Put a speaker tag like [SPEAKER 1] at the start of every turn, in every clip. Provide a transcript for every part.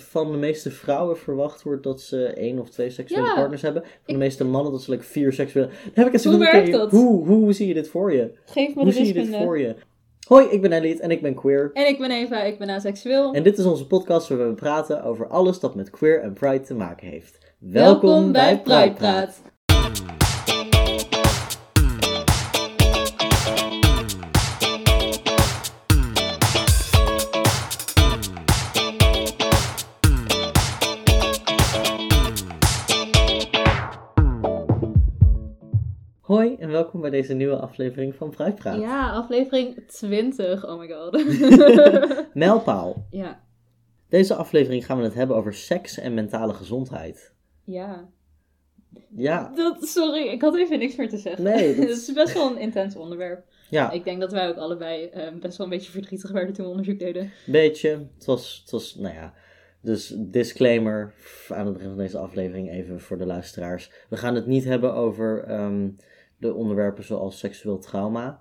[SPEAKER 1] van de meeste vrouwen verwacht wordt dat ze één of twee seksuele
[SPEAKER 2] Ja.
[SPEAKER 1] partners hebben. Van de
[SPEAKER 2] Ik-
[SPEAKER 1] meeste mannen dat ze like, vier seksuele... Dan heb ik eens
[SPEAKER 2] Hoe
[SPEAKER 1] bedoeld,
[SPEAKER 2] werkt
[SPEAKER 1] oké,
[SPEAKER 2] dat?
[SPEAKER 1] Hoe, hoe zie je dit voor je?
[SPEAKER 2] Geef me
[SPEAKER 1] Hoe
[SPEAKER 2] de
[SPEAKER 1] zie je dit
[SPEAKER 2] wiskunde.
[SPEAKER 1] voor je? Hoi, ik ben Elliot en ik ben queer.
[SPEAKER 2] En ik ben Eva, ik ben aseksueel.
[SPEAKER 1] En dit is onze podcast waar we praten over alles dat met queer en pride te maken heeft.
[SPEAKER 2] Welkom, bij Pride
[SPEAKER 1] Praat.
[SPEAKER 2] Praat.
[SPEAKER 1] Hoi en welkom bij deze nieuwe aflevering van Pride Praat.
[SPEAKER 2] Ja, aflevering 20. Oh my god.
[SPEAKER 1] Mijlpaal.
[SPEAKER 2] ja,
[SPEAKER 1] Deze aflevering gaan we het hebben over seks en mentale gezondheid.
[SPEAKER 2] ja.
[SPEAKER 1] Ja,
[SPEAKER 2] Dat, sorry, ik had even niks meer te zeggen.
[SPEAKER 1] Ah. Nee, dat- Ah.
[SPEAKER 2] dat is best wel een intens onderwerp.
[SPEAKER 1] ja,
[SPEAKER 2] Ik denk dat wij ook allebei eh, best wel een beetje verdrietig werden toen we onderzoek deden.
[SPEAKER 1] beetje. Het was, het was, nou ja. Dus disclaimer aan het begin van deze aflevering even voor de luisteraars. We gaan het niet hebben over ehm, de onderwerpen zoals seksueel trauma.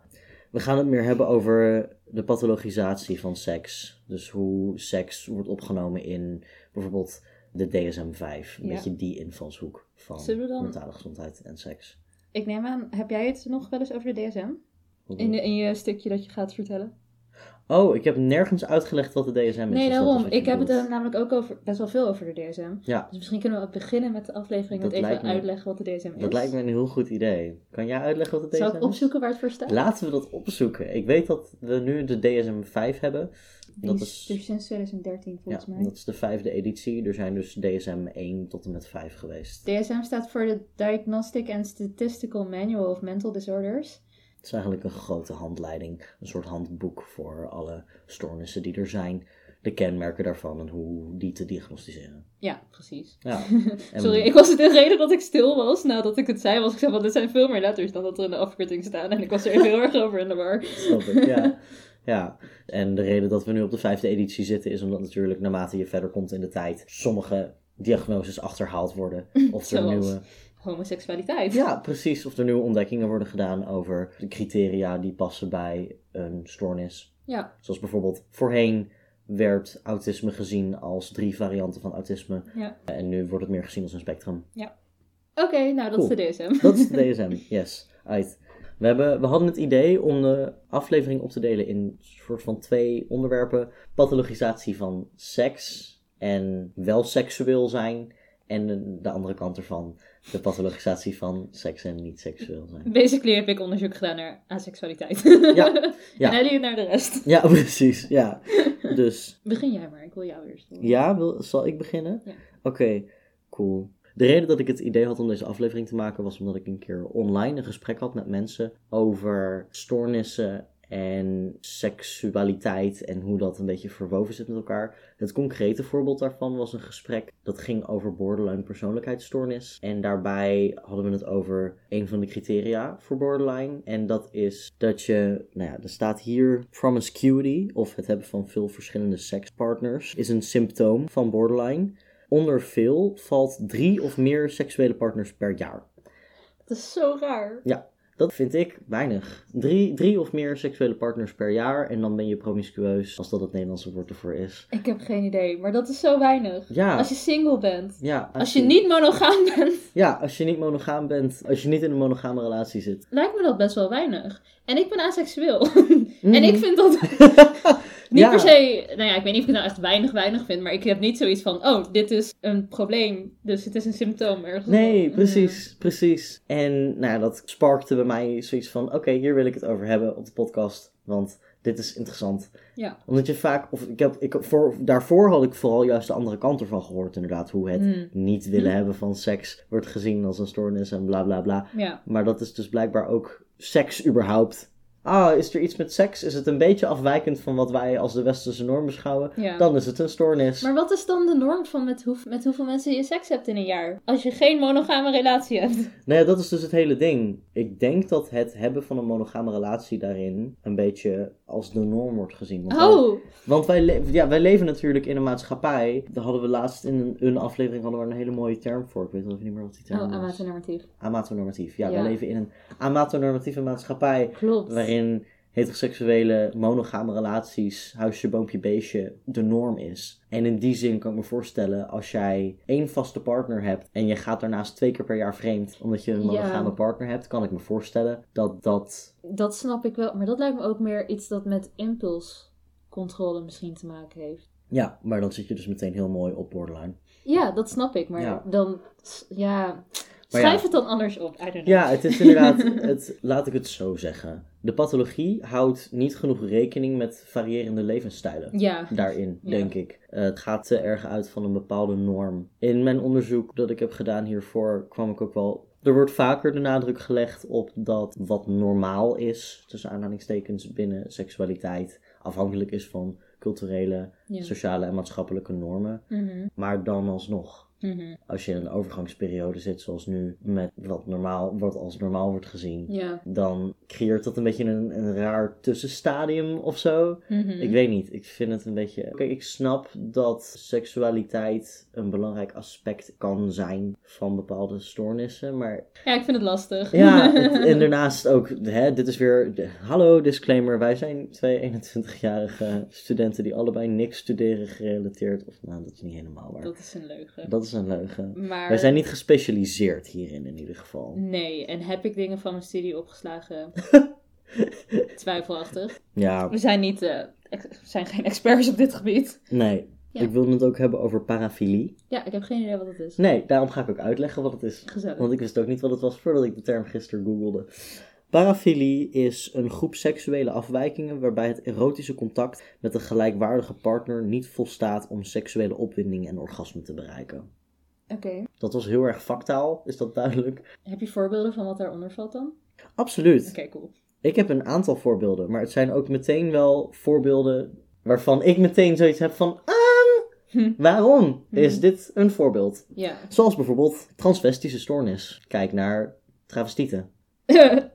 [SPEAKER 1] We gaan het meer hebben over de pathologisatie van seks. Dus hoe seks wordt opgenomen in bijvoorbeeld de DSM-5. Een
[SPEAKER 2] Ja.
[SPEAKER 1] beetje die invalshoek van
[SPEAKER 2] Zullen we dan-
[SPEAKER 1] mentale gezondheid en seks.
[SPEAKER 2] Ik neem aan, heb jij het nog wel eens over de DSM?
[SPEAKER 1] Hoe-
[SPEAKER 2] In, in je stukje dat je gaat vertellen?
[SPEAKER 1] Oh, ik heb nergens uitgelegd wat de DSM is.
[SPEAKER 2] Nee,
[SPEAKER 1] is dat dus
[SPEAKER 2] daarom.
[SPEAKER 1] wat je
[SPEAKER 2] Ik heb het
[SPEAKER 1] bedoelt?
[SPEAKER 2] eh, namelijk ook over, best wel veel over de DSM.
[SPEAKER 1] Ja,
[SPEAKER 2] Dus misschien kunnen we beginnen met de
[SPEAKER 1] Dat
[SPEAKER 2] aflevering met even
[SPEAKER 1] lijkt me-
[SPEAKER 2] uitleggen wat de DSM is.
[SPEAKER 1] dat lijkt me een heel goed idee. Kan jij uitleggen wat de DSM
[SPEAKER 2] Zal ik
[SPEAKER 1] is?
[SPEAKER 2] opzoeken waar het voor staat?
[SPEAKER 1] Laten we dat opzoeken. Ik weet dat we nu de DSM-5 hebben.
[SPEAKER 2] Die
[SPEAKER 1] Dat
[SPEAKER 2] is
[SPEAKER 1] is,
[SPEAKER 2] dus sinds 2013
[SPEAKER 1] ja,
[SPEAKER 2] volgens mij.
[SPEAKER 1] dat is de vijfde editie. Er zijn dus DSM-1 tot en met 5 geweest.
[SPEAKER 2] DSM staat voor de Diagnostic and Statistical Manual of Mental Disorders.
[SPEAKER 1] Het is eigenlijk een grote handleiding. Een soort handboek voor alle stoornissen die er zijn. De kenmerken daarvan en hoe die te diagnosticeren.
[SPEAKER 2] Ja, precies.
[SPEAKER 1] Ja. En-
[SPEAKER 2] Sorry, ik was het de reden dat ik stil was nadat ik het zei. Was ik zei, want er zijn veel meer letters dan dat er in de afkorting staan. En ik was er even heel erg over in de war.
[SPEAKER 1] Snap ik, ja. Ja, en de reden dat we nu op de vijfde editie zitten is omdat natuurlijk naarmate je verder komt in de tijd, sommige diagnoses achterhaald worden. Of er
[SPEAKER 2] Zoals?
[SPEAKER 1] nieuwe,
[SPEAKER 2] Homoseksualiteit.
[SPEAKER 1] ja, precies, of er nieuwe ontdekkingen worden gedaan over de criteria die passen bij een stoornis.
[SPEAKER 2] Ja,
[SPEAKER 1] Zoals bijvoorbeeld voorheen werd autisme gezien als drie varianten van autisme.
[SPEAKER 2] ja.
[SPEAKER 1] En nu wordt het meer gezien als een spectrum.
[SPEAKER 2] Oké, nou dat
[SPEAKER 1] Cool.
[SPEAKER 2] is de DSM.
[SPEAKER 1] Dat is de DSM, yes. Uit. We, hebben, we hadden het idee om de aflevering op te delen in een soort van twee onderwerpen. Pathologisatie van seks en wel seksueel zijn. En de- de andere kant ervan, de pathologisatie van seks en niet seksueel zijn.
[SPEAKER 2] Basically heb ik onderzoek gedaan naar aseksualiteit.
[SPEAKER 1] Ja, ja.
[SPEAKER 2] En Elliot naar de rest.
[SPEAKER 1] Ja, precies, ja. Dus,
[SPEAKER 2] Begin jij maar, ik wil jou eerst. doen.
[SPEAKER 1] ja, wil, zal ik beginnen?
[SPEAKER 2] Ja.
[SPEAKER 1] Oké, cool. De reden dat ik het idee had om deze aflevering te maken was omdat ik een keer online een gesprek had met mensen over stoornissen en seksualiteit en hoe dat een beetje verwoven zit met elkaar. Het concrete voorbeeld daarvan was een gesprek dat ging over borderline persoonlijkheidsstoornis. En daarbij hadden we het over een van de criteria voor borderline. En dat is dat je, nou ja, er staat hier promiscuity of het hebben van veel verschillende sekspartners is een symptoom van borderline. Onder veel valt drie of meer seksuele partners per jaar.
[SPEAKER 2] Dat is zo raar.
[SPEAKER 1] Dat vind ik weinig. Drie, drie of meer seksuele partners per jaar en dan ben je promiscueus, als dat het Nederlandse woord ervoor is.
[SPEAKER 2] Ik heb geen idee, maar dat is zo weinig.
[SPEAKER 1] Ja,
[SPEAKER 2] Als je single bent.
[SPEAKER 1] ja,
[SPEAKER 2] Als je niet monogaam bent,
[SPEAKER 1] Ja, als je niet monogaam bent, als je niet in een monogame relatie zit.
[SPEAKER 2] lijkt me dat best wel weinig. En ik ben aseksueel. En ik vind dat niet
[SPEAKER 1] Mm. Hmm. Ja.
[SPEAKER 2] per se... Nou ja, ik weet niet of ik het nou echt weinig weinig vind. Maar ik heb niet zoiets van... Oh, dit is een probleem. Dus het is een symptoom ergens.
[SPEAKER 1] Nee,
[SPEAKER 2] Eh,
[SPEAKER 1] precies, precies. En nou ja, dat sparkte bij mij zoiets van, oké, hier wil ik het over hebben op de podcast, want dit is interessant.
[SPEAKER 2] Ja.
[SPEAKER 1] Omdat je vaak, of ik heb, ik, heb voor, daarvoor had ik vooral juist de andere kant ervan gehoord inderdaad, hoe het
[SPEAKER 2] Hmm.
[SPEAKER 1] niet willen hebben van seks wordt gezien als een stoornis en bla bla bla.
[SPEAKER 2] Ja.
[SPEAKER 1] Maar dat is dus blijkbaar ook seks überhaupt. Ah, is er iets met seks? Is het een beetje afwijkend van wat wij als de westerse norm beschouwen?
[SPEAKER 2] ja.
[SPEAKER 1] Dan is het een stoornis.
[SPEAKER 2] Maar wat is dan de norm van met, hoe, met hoeveel mensen je seks hebt in een jaar? Als je geen monogame relatie hebt.
[SPEAKER 1] Nou ja, dat is dus het hele ding. Ik denk dat het hebben van een monogame relatie daarin een beetje als de norm wordt gezien. Want wij-
[SPEAKER 2] Oh,
[SPEAKER 1] Want wij, le- ja, wij leven natuurlijk in een maatschappij. Daar hadden we laatst in een, een aflevering hadden we een hele mooie term voor. Ik weet nog niet meer wat die term
[SPEAKER 2] oh
[SPEAKER 1] was.
[SPEAKER 2] amatonormatief.
[SPEAKER 1] Amatonormatief. Ja,
[SPEAKER 2] Ja.
[SPEAKER 1] wij leven in een amatonormatieve maatschappij.
[SPEAKER 2] Klopt.
[SPEAKER 1] Waarin heteroseksuele monogame relaties, huisje, boompje, beestje, de norm is. En in die zin kan ik me voorstellen, als jij één vaste partner hebt en je gaat daarnaast twee keer per jaar vreemd omdat je een
[SPEAKER 2] Ja.
[SPEAKER 1] monogame partner hebt, kan ik me voorstellen dat dat.
[SPEAKER 2] Dat snap ik wel, maar dat lijkt me ook meer iets dat met impulscontrole misschien te maken heeft.
[SPEAKER 1] Ja, maar dan zit je dus meteen heel mooi op borderline.
[SPEAKER 2] Ja, dat snap ik, maar
[SPEAKER 1] Ja.
[SPEAKER 2] dan, ja,
[SPEAKER 1] Maar
[SPEAKER 2] schrijf
[SPEAKER 1] ja.
[SPEAKER 2] het dan anders op. I don't know.
[SPEAKER 1] Ja, het is inderdaad, het, laat ik het zo zeggen. De pathologie houdt niet genoeg rekening met variërende levensstijlen.
[SPEAKER 2] Ja,
[SPEAKER 1] daarin,
[SPEAKER 2] Ja.
[SPEAKER 1] denk ik. Eh, het gaat te erg uit van een bepaalde norm. In mijn onderzoek dat ik heb gedaan hiervoor kwam ik ook wel. Er wordt vaker de nadruk gelegd op dat wat normaal is, tussen aanhalingstekens binnen seksualiteit, afhankelijk is van culturele,
[SPEAKER 2] ja.
[SPEAKER 1] sociale en maatschappelijke normen.
[SPEAKER 2] Mhm,
[SPEAKER 1] Maar dan alsnog,
[SPEAKER 2] mhm.
[SPEAKER 1] als je in een overgangsperiode zit zoals nu, met wat, normaal, wat als normaal wordt gezien,
[SPEAKER 2] ja.
[SPEAKER 1] dan creëert dat een beetje een, een raar tussenstadium of zo.
[SPEAKER 2] mhm.
[SPEAKER 1] Ik weet niet, ik vind het een beetje. Kijk, ik snap dat seksualiteit een belangrijk aspect kan zijn van bepaalde stoornissen, maar.
[SPEAKER 2] Ja, ik vind het lastig.
[SPEAKER 1] Ja, het- en daarnaast ook, hè, dit is weer. de- hallo, disclaimer: wij zijn twee 21-jarige studenten die allebei niks studeren gerelateerd. Of nou, dat is niet helemaal waar.
[SPEAKER 2] Dat is een leugen.
[SPEAKER 1] Dat is een leugen.
[SPEAKER 2] Maar...
[SPEAKER 1] Wij zijn niet gespecialiseerd hierin, in ieder geval.
[SPEAKER 2] Nee, en heb ik dingen van mijn studie opgeslagen? Twijfelachtig.
[SPEAKER 1] Ja,
[SPEAKER 2] We zijn, niet, eh, ex- we zijn geen experts op dit gebied.
[SPEAKER 1] nee.
[SPEAKER 2] Ja.
[SPEAKER 1] Ik wilde het ook hebben over parafilie.
[SPEAKER 2] Ja, ik heb geen idee wat het is.
[SPEAKER 1] Nee, daarom ga ik ook uitleggen wat het is.
[SPEAKER 2] Gezellig.
[SPEAKER 1] Want ik wist ook niet wat het was voordat ik de term gisteren googelde. Parafilie is een groep seksuele afwijkingen waarbij het erotische contact met een gelijkwaardige partner niet volstaat om seksuele opwinding en orgasme te bereiken.
[SPEAKER 2] Oké.
[SPEAKER 1] Dat was heel erg vaktaal, is dat duidelijk?
[SPEAKER 2] Heb je voorbeelden van wat daaronder valt dan? Oké,
[SPEAKER 1] Absoluut.
[SPEAKER 2] cool.
[SPEAKER 1] Ik heb een aantal voorbeelden, maar het zijn ook meteen wel voorbeelden waarvan ik meteen zoiets heb van,
[SPEAKER 2] Hm.
[SPEAKER 1] ah, waarom is dit een voorbeeld?
[SPEAKER 2] Ja.
[SPEAKER 1] Zoals bijvoorbeeld transvestische stoornis. Kijk naar travestieten. Ja,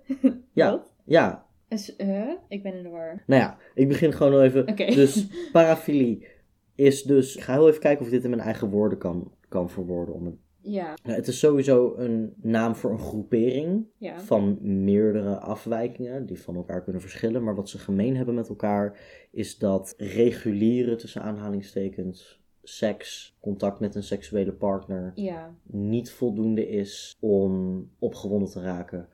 [SPEAKER 2] Wat?
[SPEAKER 1] ja,
[SPEAKER 2] Is- eh? ik ben in de war.
[SPEAKER 1] Nou ja, ik begin gewoon al even.
[SPEAKER 2] Oké.
[SPEAKER 1] Dus parafilie is dus. Ik ga heel even kijken of ik dit in mijn eigen woorden kan, kan verwoorden. Om het.
[SPEAKER 2] Ja,
[SPEAKER 1] Nou, het is sowieso een naam voor een groepering
[SPEAKER 2] ja.
[SPEAKER 1] van meerdere afwijkingen die van elkaar kunnen verschillen. Maar wat ze gemeen hebben met elkaar is dat reguliere, tussen aanhalingstekens, seks, contact met een seksuele partner
[SPEAKER 2] Ja,
[SPEAKER 1] niet voldoende is om opgewonden te raken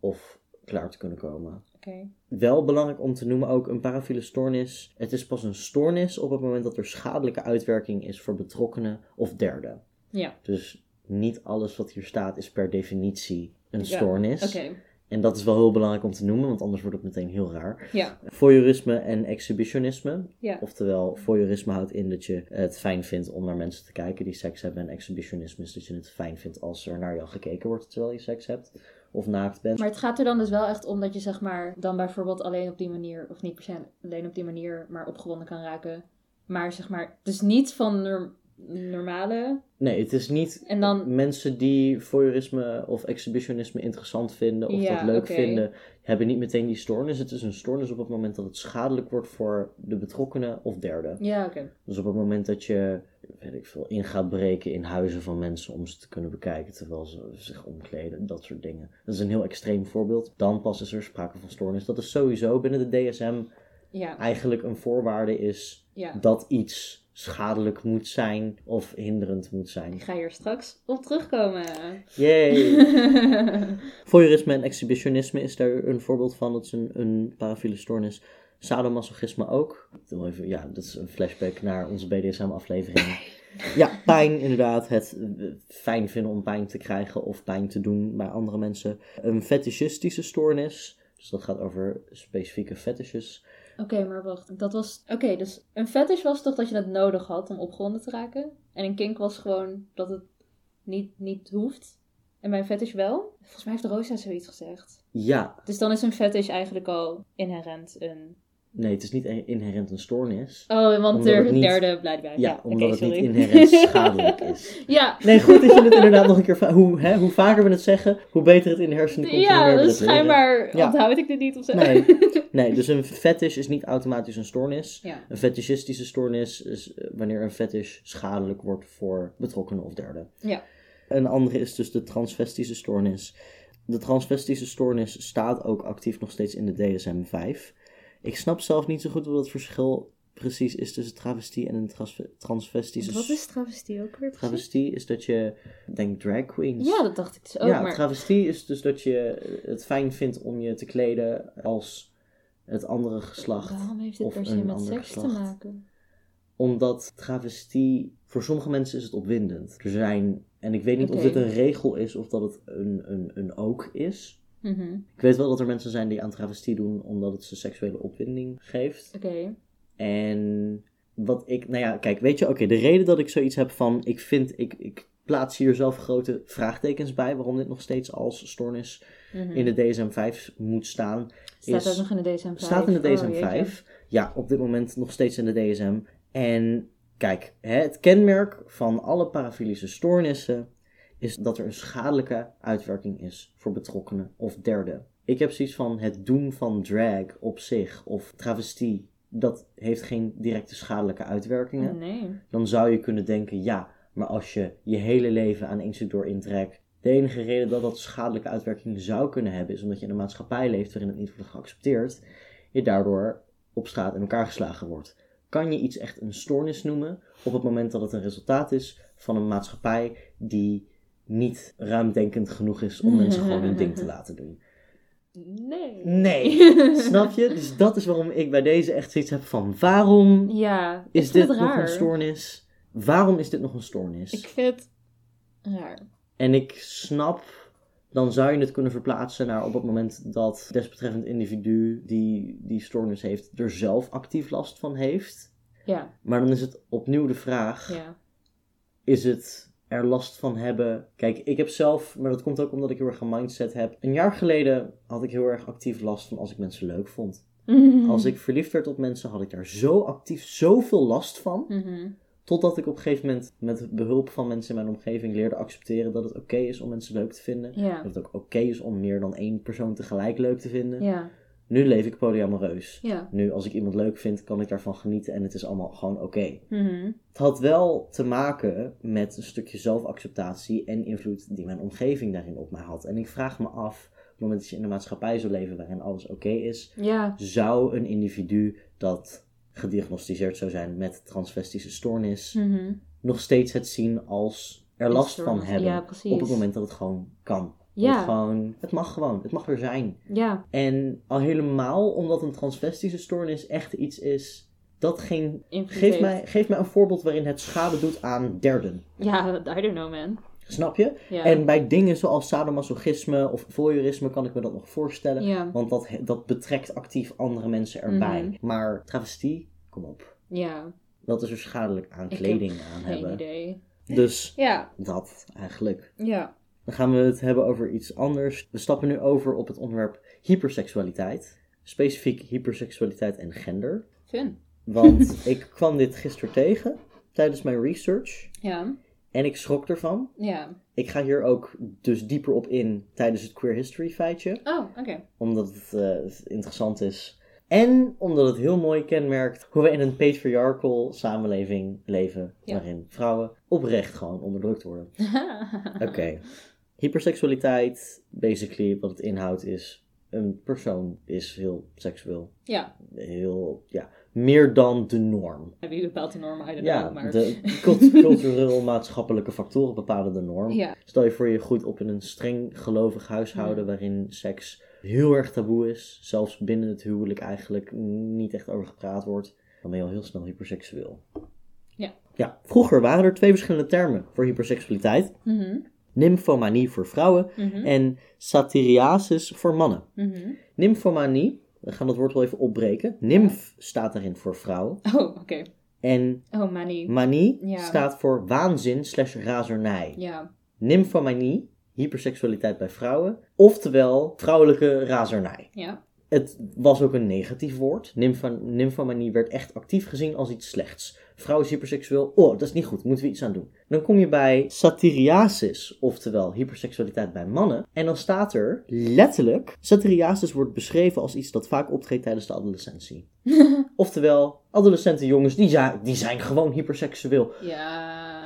[SPEAKER 1] of klaar te kunnen komen.
[SPEAKER 2] oké.
[SPEAKER 1] Wel belangrijk om te noemen ook een parafiele stoornis. Het is pas een stoornis op het moment dat er schadelijke uitwerking is voor betrokkenen of derden.
[SPEAKER 2] Ja,
[SPEAKER 1] Dus niet alles wat hier staat is per definitie een
[SPEAKER 2] Ja,
[SPEAKER 1] stoornis.
[SPEAKER 2] oké.
[SPEAKER 1] En dat is wel heel belangrijk om te noemen, want anders wordt het meteen heel raar.
[SPEAKER 2] Ja,
[SPEAKER 1] Voyeurisme en exhibitionisme.
[SPEAKER 2] ja.
[SPEAKER 1] Oftewel, voyeurisme houdt in dat je het fijn vindt om naar mensen te kijken die seks hebben. En exhibitionisme is dat je het fijn vindt als er naar jou gekeken wordt terwijl je seks hebt. Of naakt bent.
[SPEAKER 2] Maar het gaat er dan dus wel echt om dat je zeg maar dan bijvoorbeeld alleen op die manier, of niet per se alleen op die manier, maar opgewonden kan raken. Maar zeg maar, dus niet van nor- normale.
[SPEAKER 1] Nee, het is niet
[SPEAKER 2] En dan,
[SPEAKER 1] Mensen die voyeurisme of exhibitionisme interessant vinden of
[SPEAKER 2] Ja,
[SPEAKER 1] dat leuk
[SPEAKER 2] oké.
[SPEAKER 1] vinden, hebben niet meteen die stoornis. Het is een stoornis op het moment dat het schadelijk wordt voor de betrokkenen of derden.
[SPEAKER 2] ja oké.
[SPEAKER 1] Dus op het moment dat je, weet ik veel, in gaat breken in huizen van mensen om ze te kunnen bekijken terwijl ze zich omkleden, dat soort dingen. Dat is een heel extreem voorbeeld. Dan pas is er sprake van stoornis. Dat is sowieso binnen de DSM
[SPEAKER 2] Ja,
[SPEAKER 1] eigenlijk een voorwaarde is
[SPEAKER 2] ja.
[SPEAKER 1] dat iets schadelijk moet zijn of hinderend moet zijn.
[SPEAKER 2] Ik ga hier straks op terugkomen.
[SPEAKER 1] Yay! Voyeurisme en exhibitionisme is daar een voorbeeld van. Dat is een, een parafiele stoornis. Sadomasochisme ook. Ik wil even- Ja, dat is een flashback naar onze BDSM-aflevering. Ja, pijn inderdaad. Het eh, fijn vinden om pijn te krijgen of pijn te doen bij andere mensen. Een fetishistische stoornis. Dus dat gaat over specifieke fetishes.
[SPEAKER 2] Oké, maar wacht. Dat was. Oké, dus een fetish was toch dat je het nodig had om opgewonden te raken? En een kink was gewoon dat het niet, niet hoeft. En bij een fetish wel? Volgens mij heeft Rosa zoiets gezegd.
[SPEAKER 1] Ja,
[SPEAKER 2] Dus dan is een fetish eigenlijk al inherent een
[SPEAKER 1] nee, het is niet e- inherent een stoornis.
[SPEAKER 2] Oh, want
[SPEAKER 1] Omdat
[SPEAKER 2] de
[SPEAKER 1] het niet-
[SPEAKER 2] derde blijft bij.
[SPEAKER 1] Ja,
[SPEAKER 2] Oh, Ja, oké,
[SPEAKER 1] omdat het
[SPEAKER 2] sorry.
[SPEAKER 1] niet inherent schadelijk is.
[SPEAKER 2] ja,
[SPEAKER 1] Nee, goed dat je het inderdaad nog een keer... va- Hoe, hè, hoe vaker we het zeggen, hoe beter het in de hersenen komt. hoe meer
[SPEAKER 2] ja
[SPEAKER 1] we
[SPEAKER 2] dus
[SPEAKER 1] het leren.
[SPEAKER 2] schijnbaar
[SPEAKER 1] Ja.
[SPEAKER 2] onthoud ik dit niet of zo.
[SPEAKER 1] Nee. Nee, dus een fetish is niet automatisch een stoornis.
[SPEAKER 2] ja,
[SPEAKER 1] Een fetishistische stoornis is eh, wanneer een fetish schadelijk wordt voor betrokkenen of derden.
[SPEAKER 2] Ja.
[SPEAKER 1] Een andere is dus de transvestische stoornis. De transvestische stoornis staat ook actief nog steeds in de DSM-5. Ik snap zelf niet zo goed wat het verschil precies is tussen travestie en een trans transvestische...
[SPEAKER 2] Wat is travestie ook weer precies?
[SPEAKER 1] Travestie is dat je, ik denk drag queens.
[SPEAKER 2] Ja, dat dacht ik dus ook.
[SPEAKER 1] ja,
[SPEAKER 2] maar
[SPEAKER 1] travestie is dus dat je het fijn vindt om je te kleden als het andere geslacht.
[SPEAKER 2] waarom heeft dit
[SPEAKER 1] of
[SPEAKER 2] per se
[SPEAKER 1] een
[SPEAKER 2] met
[SPEAKER 1] ander
[SPEAKER 2] seks te
[SPEAKER 1] geslacht.
[SPEAKER 2] maken?
[SPEAKER 1] Omdat travestie, voor sommige mensen is het opwindend. Er zijn, en ik weet niet of
[SPEAKER 2] Oké.
[SPEAKER 1] dit een regel is of dat het een, een, een ook is.
[SPEAKER 2] Mhm.
[SPEAKER 1] Ik weet wel dat er mensen zijn die aan travestie doen omdat het ze seksuele opwinding geeft.
[SPEAKER 2] Oké.
[SPEAKER 1] En wat ik, nou ja, kijk, weet je, oké, de reden dat ik zoiets heb van, ik vind, ik, ik plaats hier zelf grote vraagtekens bij waarom dit nog steeds als stoornis
[SPEAKER 2] Mhm.
[SPEAKER 1] in de DSM-5 moet staan.
[SPEAKER 2] Staat
[SPEAKER 1] is-
[SPEAKER 2] ook nog in de DSM-5.
[SPEAKER 1] Staat in de
[SPEAKER 2] Oh,
[SPEAKER 1] DSM-5.
[SPEAKER 2] jeetje.
[SPEAKER 1] ja, op dit moment nog steeds in de DSM. En kijk, hè, het kenmerk van alle parafilische stoornissen is dat er een schadelijke uitwerking is voor betrokkenen of derden. Ik heb zoiets van het doen van drag op zich of travestie, dat heeft geen directe schadelijke
[SPEAKER 2] Mhm.
[SPEAKER 1] uitwerkingen.
[SPEAKER 2] Nee.
[SPEAKER 1] Dan zou je kunnen denken, ja, maar als je je hele leven aan één stuk door intrekt, de enige reden dat dat schadelijke uitwerkingen zou kunnen hebben, is omdat je in een maatschappij leeft waarin het niet wordt geaccepteerd, je daardoor op straat in elkaar geslagen wordt. Kan je iets echt een stoornis noemen op het moment dat het een resultaat is van een maatschappij die niet ruimdenkend genoeg is om mensen gewoon hun ding te laten doen?
[SPEAKER 2] Nee.
[SPEAKER 1] Nee, snap je? Dus dat is waarom ik bij deze echt zoiets heb van waarom
[SPEAKER 2] Ja, ik
[SPEAKER 1] is
[SPEAKER 2] vind
[SPEAKER 1] dit
[SPEAKER 2] het
[SPEAKER 1] nog
[SPEAKER 2] raar.
[SPEAKER 1] een stoornis? Waarom is dit nog een stoornis?
[SPEAKER 2] Ik vind het raar.
[SPEAKER 1] En ik snap, dan zou je het kunnen verplaatsen naar op het moment dat desbetreffend individu die die stoornis heeft, er zelf actief last van heeft.
[SPEAKER 2] Ja,
[SPEAKER 1] Maar dan is het opnieuw de vraag:
[SPEAKER 2] ja.
[SPEAKER 1] is het er last van hebben? Kijk, ik heb zelf, maar dat komt ook omdat ik heel erg een mindset heb. Een jaar geleden had ik heel erg actief last van als ik mensen leuk vond.
[SPEAKER 2] Mm.
[SPEAKER 1] Als ik verliefd werd op mensen, had ik daar zo actief zoveel last van.
[SPEAKER 2] Mhm.
[SPEAKER 1] Totdat ik op een gegeven moment met behulp van mensen in mijn omgeving leerde accepteren dat het oké is om mensen leuk te vinden.
[SPEAKER 2] Ja,
[SPEAKER 1] Dat het ook oké is om meer dan één persoon tegelijk leuk te vinden.
[SPEAKER 2] ja,
[SPEAKER 1] Nu leef ik polyamoreus.
[SPEAKER 2] ja.
[SPEAKER 1] Nu, als ik iemand leuk vind, kan ik daarvan genieten en het is allemaal gewoon oké.
[SPEAKER 2] Mhm.
[SPEAKER 1] Het had wel te maken met een stukje zelfacceptatie en invloed die mijn omgeving daarin op mij had. En ik vraag me af, op het moment dat je in een maatschappij zou leven waarin alles oké is,
[SPEAKER 2] Ja,
[SPEAKER 1] zou een individu dat gediagnosticeerd zou zijn met transvestische stoornis
[SPEAKER 2] mhm.
[SPEAKER 1] nog steeds het zien als er
[SPEAKER 2] Een
[SPEAKER 1] last van
[SPEAKER 2] stoornis.
[SPEAKER 1] hebben
[SPEAKER 2] Ja, precies.
[SPEAKER 1] op het moment dat het gewoon kan. Dat het
[SPEAKER 2] Ja,
[SPEAKER 1] gewoon, het mag gewoon, het mag er zijn.
[SPEAKER 2] ja,
[SPEAKER 1] En al helemaal omdat een transvestische stoornis echt iets is dat geen.
[SPEAKER 2] invloed
[SPEAKER 1] Geef
[SPEAKER 2] heeft.
[SPEAKER 1] mij, geef mij een voorbeeld waarin het schade doet aan derden.
[SPEAKER 2] Ja, I don't know, man.
[SPEAKER 1] Snap je?
[SPEAKER 2] Ja,
[SPEAKER 1] En bij dingen zoals sadomasochisme of voyeurisme kan ik me dat nog voorstellen.
[SPEAKER 2] ja,
[SPEAKER 1] Want dat, he- dat betrekt actief andere mensen erbij.
[SPEAKER 2] Mhm.
[SPEAKER 1] Maar travestie, kom op.
[SPEAKER 2] ja.
[SPEAKER 1] Wat is er schadelijk aan
[SPEAKER 2] Ik
[SPEAKER 1] kleding
[SPEAKER 2] heb
[SPEAKER 1] aan
[SPEAKER 2] geen
[SPEAKER 1] hebben?
[SPEAKER 2] idee.
[SPEAKER 1] Dus
[SPEAKER 2] Ja,
[SPEAKER 1] dat eigenlijk.
[SPEAKER 2] ja.
[SPEAKER 1] Dan gaan we het hebben over iets anders. We stappen nu over op het onderwerp hyperseksualiteit. Specifiek hyperseksualiteit en gender.
[SPEAKER 2] Fun.
[SPEAKER 1] Want ik kwam dit gisteren tegen tijdens mijn research.
[SPEAKER 2] Ja,
[SPEAKER 1] En ik schrok ervan.
[SPEAKER 2] ja.
[SPEAKER 1] Ik ga hier ook dus dieper op in tijdens het queer history feitje.
[SPEAKER 2] Oh, oké.
[SPEAKER 1] Omdat het eh, interessant is. En omdat het heel mooi kenmerkt hoe we in een patriarchal samenleving leven.
[SPEAKER 2] Ja.
[SPEAKER 1] Waarin vrouwen oprecht gewoon onderdrukt worden. Oké. Hyperseksualiteit, basically wat het inhoudt is, een persoon is heel seksueel.
[SPEAKER 2] ja,
[SPEAKER 1] Heel, ja, meer dan de norm.
[SPEAKER 2] hebben jullie bepaald de normen? I don't know,
[SPEAKER 1] Ja,
[SPEAKER 2] maar...
[SPEAKER 1] de cult- cultureel-maatschappelijke factoren bepalen de norm.
[SPEAKER 2] Ja,
[SPEAKER 1] Stel je voor je groeit op in een streng gelovig huishouden waarin seks heel erg taboe is. Zelfs binnen het huwelijk eigenlijk niet echt over gepraat wordt. Dan ben je al heel snel hyperseksueel.
[SPEAKER 2] Ja.
[SPEAKER 1] ja. Vroeger waren er twee verschillende termen voor hyperseksualiteit.
[SPEAKER 2] mhm,
[SPEAKER 1] Nymphomanie voor vrouwen
[SPEAKER 2] mhm,
[SPEAKER 1] en satiriasis voor mannen.
[SPEAKER 2] mhm.
[SPEAKER 1] Nymphomanie, we gaan dat woord wel even opbreken. Nymph staat daarin voor vrouw.
[SPEAKER 2] Oh, oké.
[SPEAKER 1] En
[SPEAKER 2] Oh,
[SPEAKER 1] Mm.
[SPEAKER 2] money.
[SPEAKER 1] manie
[SPEAKER 2] Ja.
[SPEAKER 1] staat voor waanzin slash razernij.
[SPEAKER 2] Ja,
[SPEAKER 1] Nymphomanie, hyperseksualiteit bij vrouwen. Oftewel vrouwelijke razernij.
[SPEAKER 2] ja,
[SPEAKER 1] Het was ook een negatief woord. Nympho- Nymphomanie werd echt actief gezien als iets slechts. Vrouw is hyperseksueel. Oh, dat is niet goed. Moeten we iets aan doen. Dan kom je bij satiriasis, oftewel hyperseksualiteit bij mannen. En dan staat er letterlijk: satiriasis wordt beschreven als iets dat vaak optreedt tijdens de adolescentie. oftewel, adolescenten jongens, die, ja, die zijn gewoon hyperseksueel.
[SPEAKER 2] ja,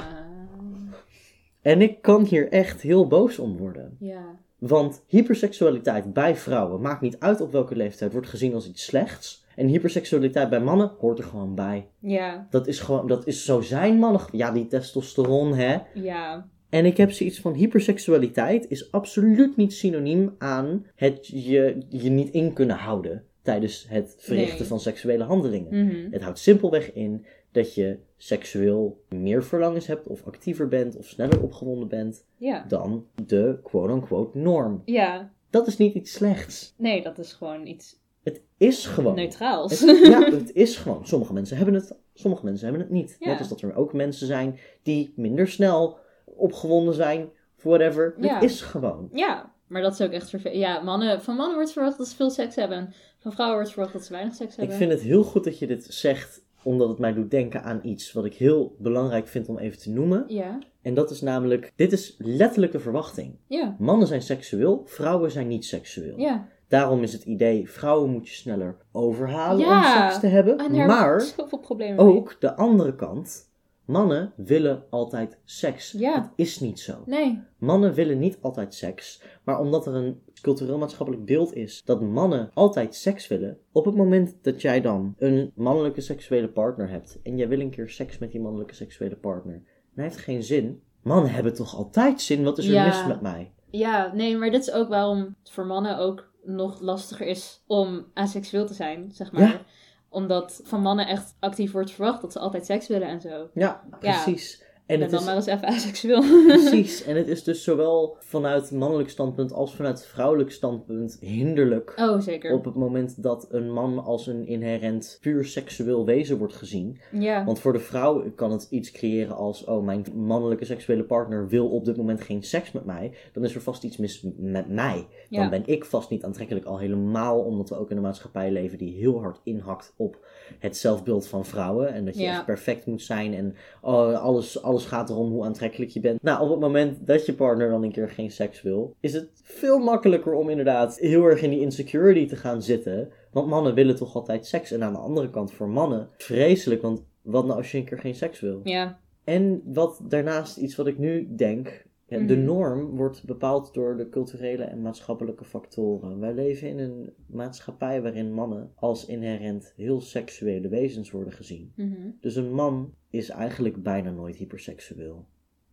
[SPEAKER 1] En ik kan hier echt heel boos om worden.
[SPEAKER 2] ja,
[SPEAKER 1] Want hyperseksualiteit bij vrouwen, maakt niet uit op welke leeftijd, wordt gezien als iets slechts. En hyperseksualiteit bij mannen hoort er gewoon bij.
[SPEAKER 2] Ja,
[SPEAKER 1] Dat is gewoon, dat is zo zijn mannen. Ja, die testosteron, hè.
[SPEAKER 2] ja,
[SPEAKER 1] En ik heb zoiets van hyperseksualiteit is absoluut niet synoniem aan het je, je niet in kunnen houden tijdens het verrichten
[SPEAKER 2] Nee.
[SPEAKER 1] van seksuele handelingen.
[SPEAKER 2] mhm,
[SPEAKER 1] Het houdt simpelweg in dat je seksueel meer verlangens hebt of actiever bent of sneller opgewonden bent
[SPEAKER 2] ja.
[SPEAKER 1] dan de quote-unquote norm.
[SPEAKER 2] Ja,
[SPEAKER 1] Dat is niet iets slechts.
[SPEAKER 2] nee, dat is gewoon iets
[SPEAKER 1] Het is gewoon.
[SPEAKER 2] neutraals.
[SPEAKER 1] Het, ja, het is gewoon. Sommige mensen hebben het, sommige mensen hebben het niet.
[SPEAKER 2] Ja.
[SPEAKER 1] Net als dat er ook mensen zijn die minder snel opgewonden zijn, whatever.
[SPEAKER 2] Ja.
[SPEAKER 1] Het is gewoon.
[SPEAKER 2] Ja, maar dat is ook echt vervelend. Ja, mannen, van mannen wordt verwacht dat ze veel seks hebben. en Van vrouwen wordt verwacht dat ze weinig seks
[SPEAKER 1] Ik
[SPEAKER 2] hebben.
[SPEAKER 1] vind het heel goed dat je dit zegt, omdat het mij doet denken aan iets wat ik heel belangrijk vind om even te noemen.
[SPEAKER 2] Ja,
[SPEAKER 1] En dat is namelijk, dit is letterlijk de verwachting.
[SPEAKER 2] ja,
[SPEAKER 1] Mannen zijn seksueel, vrouwen zijn niet seksueel.
[SPEAKER 2] ja.
[SPEAKER 1] Daarom is het idee, vrouwen moet je sneller overhalen
[SPEAKER 2] Ja.
[SPEAKER 1] om seks te hebben.
[SPEAKER 2] En daar
[SPEAKER 1] maar
[SPEAKER 2] zijn zoveel problemen mee.
[SPEAKER 1] ook de andere kant, mannen willen altijd seks.
[SPEAKER 2] Ja.
[SPEAKER 1] Dat is niet zo.
[SPEAKER 2] Nee,
[SPEAKER 1] Mannen willen niet altijd seks, maar omdat er een cultureel maatschappelijk beeld is dat mannen altijd seks willen, op het moment dat jij dan een mannelijke seksuele partner hebt en jij wil een keer seks met die mannelijke seksuele partner, en hij heeft geen zin. Mannen hebben toch altijd zin? Wat is er
[SPEAKER 2] Ja.
[SPEAKER 1] mis met mij?
[SPEAKER 2] Ja, nee, maar dit is ook waarom het voor mannen ook nog lastiger is om aseksueel te zijn, zeg maar.
[SPEAKER 1] Ja.
[SPEAKER 2] Omdat van mannen echt actief wordt verwacht dat ze altijd seks willen en zo.
[SPEAKER 1] Ja, precies. En
[SPEAKER 2] En
[SPEAKER 1] het
[SPEAKER 2] dan
[SPEAKER 1] is
[SPEAKER 2] maar eens even aseksueel.
[SPEAKER 1] precies. En het is dus zowel vanuit mannelijk standpunt als vanuit vrouwelijk standpunt hinderlijk.
[SPEAKER 2] Oh, zeker.
[SPEAKER 1] Op het moment dat een man als een inherent puur seksueel wezen wordt gezien.
[SPEAKER 2] Ja.
[SPEAKER 1] Want voor de vrouw kan het iets creëren als: oh, mijn mannelijke seksuele partner wil op dit moment geen seks met mij. Dan is er vast iets mis met mij. Dan
[SPEAKER 2] Ja.
[SPEAKER 1] ben ik vast niet aantrekkelijk. Al helemaal omdat we ook in een maatschappij leven die heel hard inhakt op het zelfbeeld van vrouwen. En dat je
[SPEAKER 2] Ja.
[SPEAKER 1] echt perfect moet zijn. En oh, alles, alles gaat erom hoe aantrekkelijk je bent. Nou, op het moment dat je partner dan een keer geen seks wil, is het veel makkelijker om inderdaad heel erg in die insecurity te gaan zitten. Want mannen willen toch altijd seks. En aan de andere kant, voor mannen, vreselijk. Want wat nou als je een keer geen seks wil?
[SPEAKER 2] Ja.
[SPEAKER 1] En wat daarnaast iets wat ik nu denk. hè, De
[SPEAKER 2] Mhm.
[SPEAKER 1] norm wordt bepaald door de culturele en maatschappelijke factoren. Wij leven in een maatschappij waarin mannen als inherent heel seksuele wezens worden gezien.
[SPEAKER 2] Mhm.
[SPEAKER 1] Dus een man is eigenlijk bijna nooit hyperseksueel.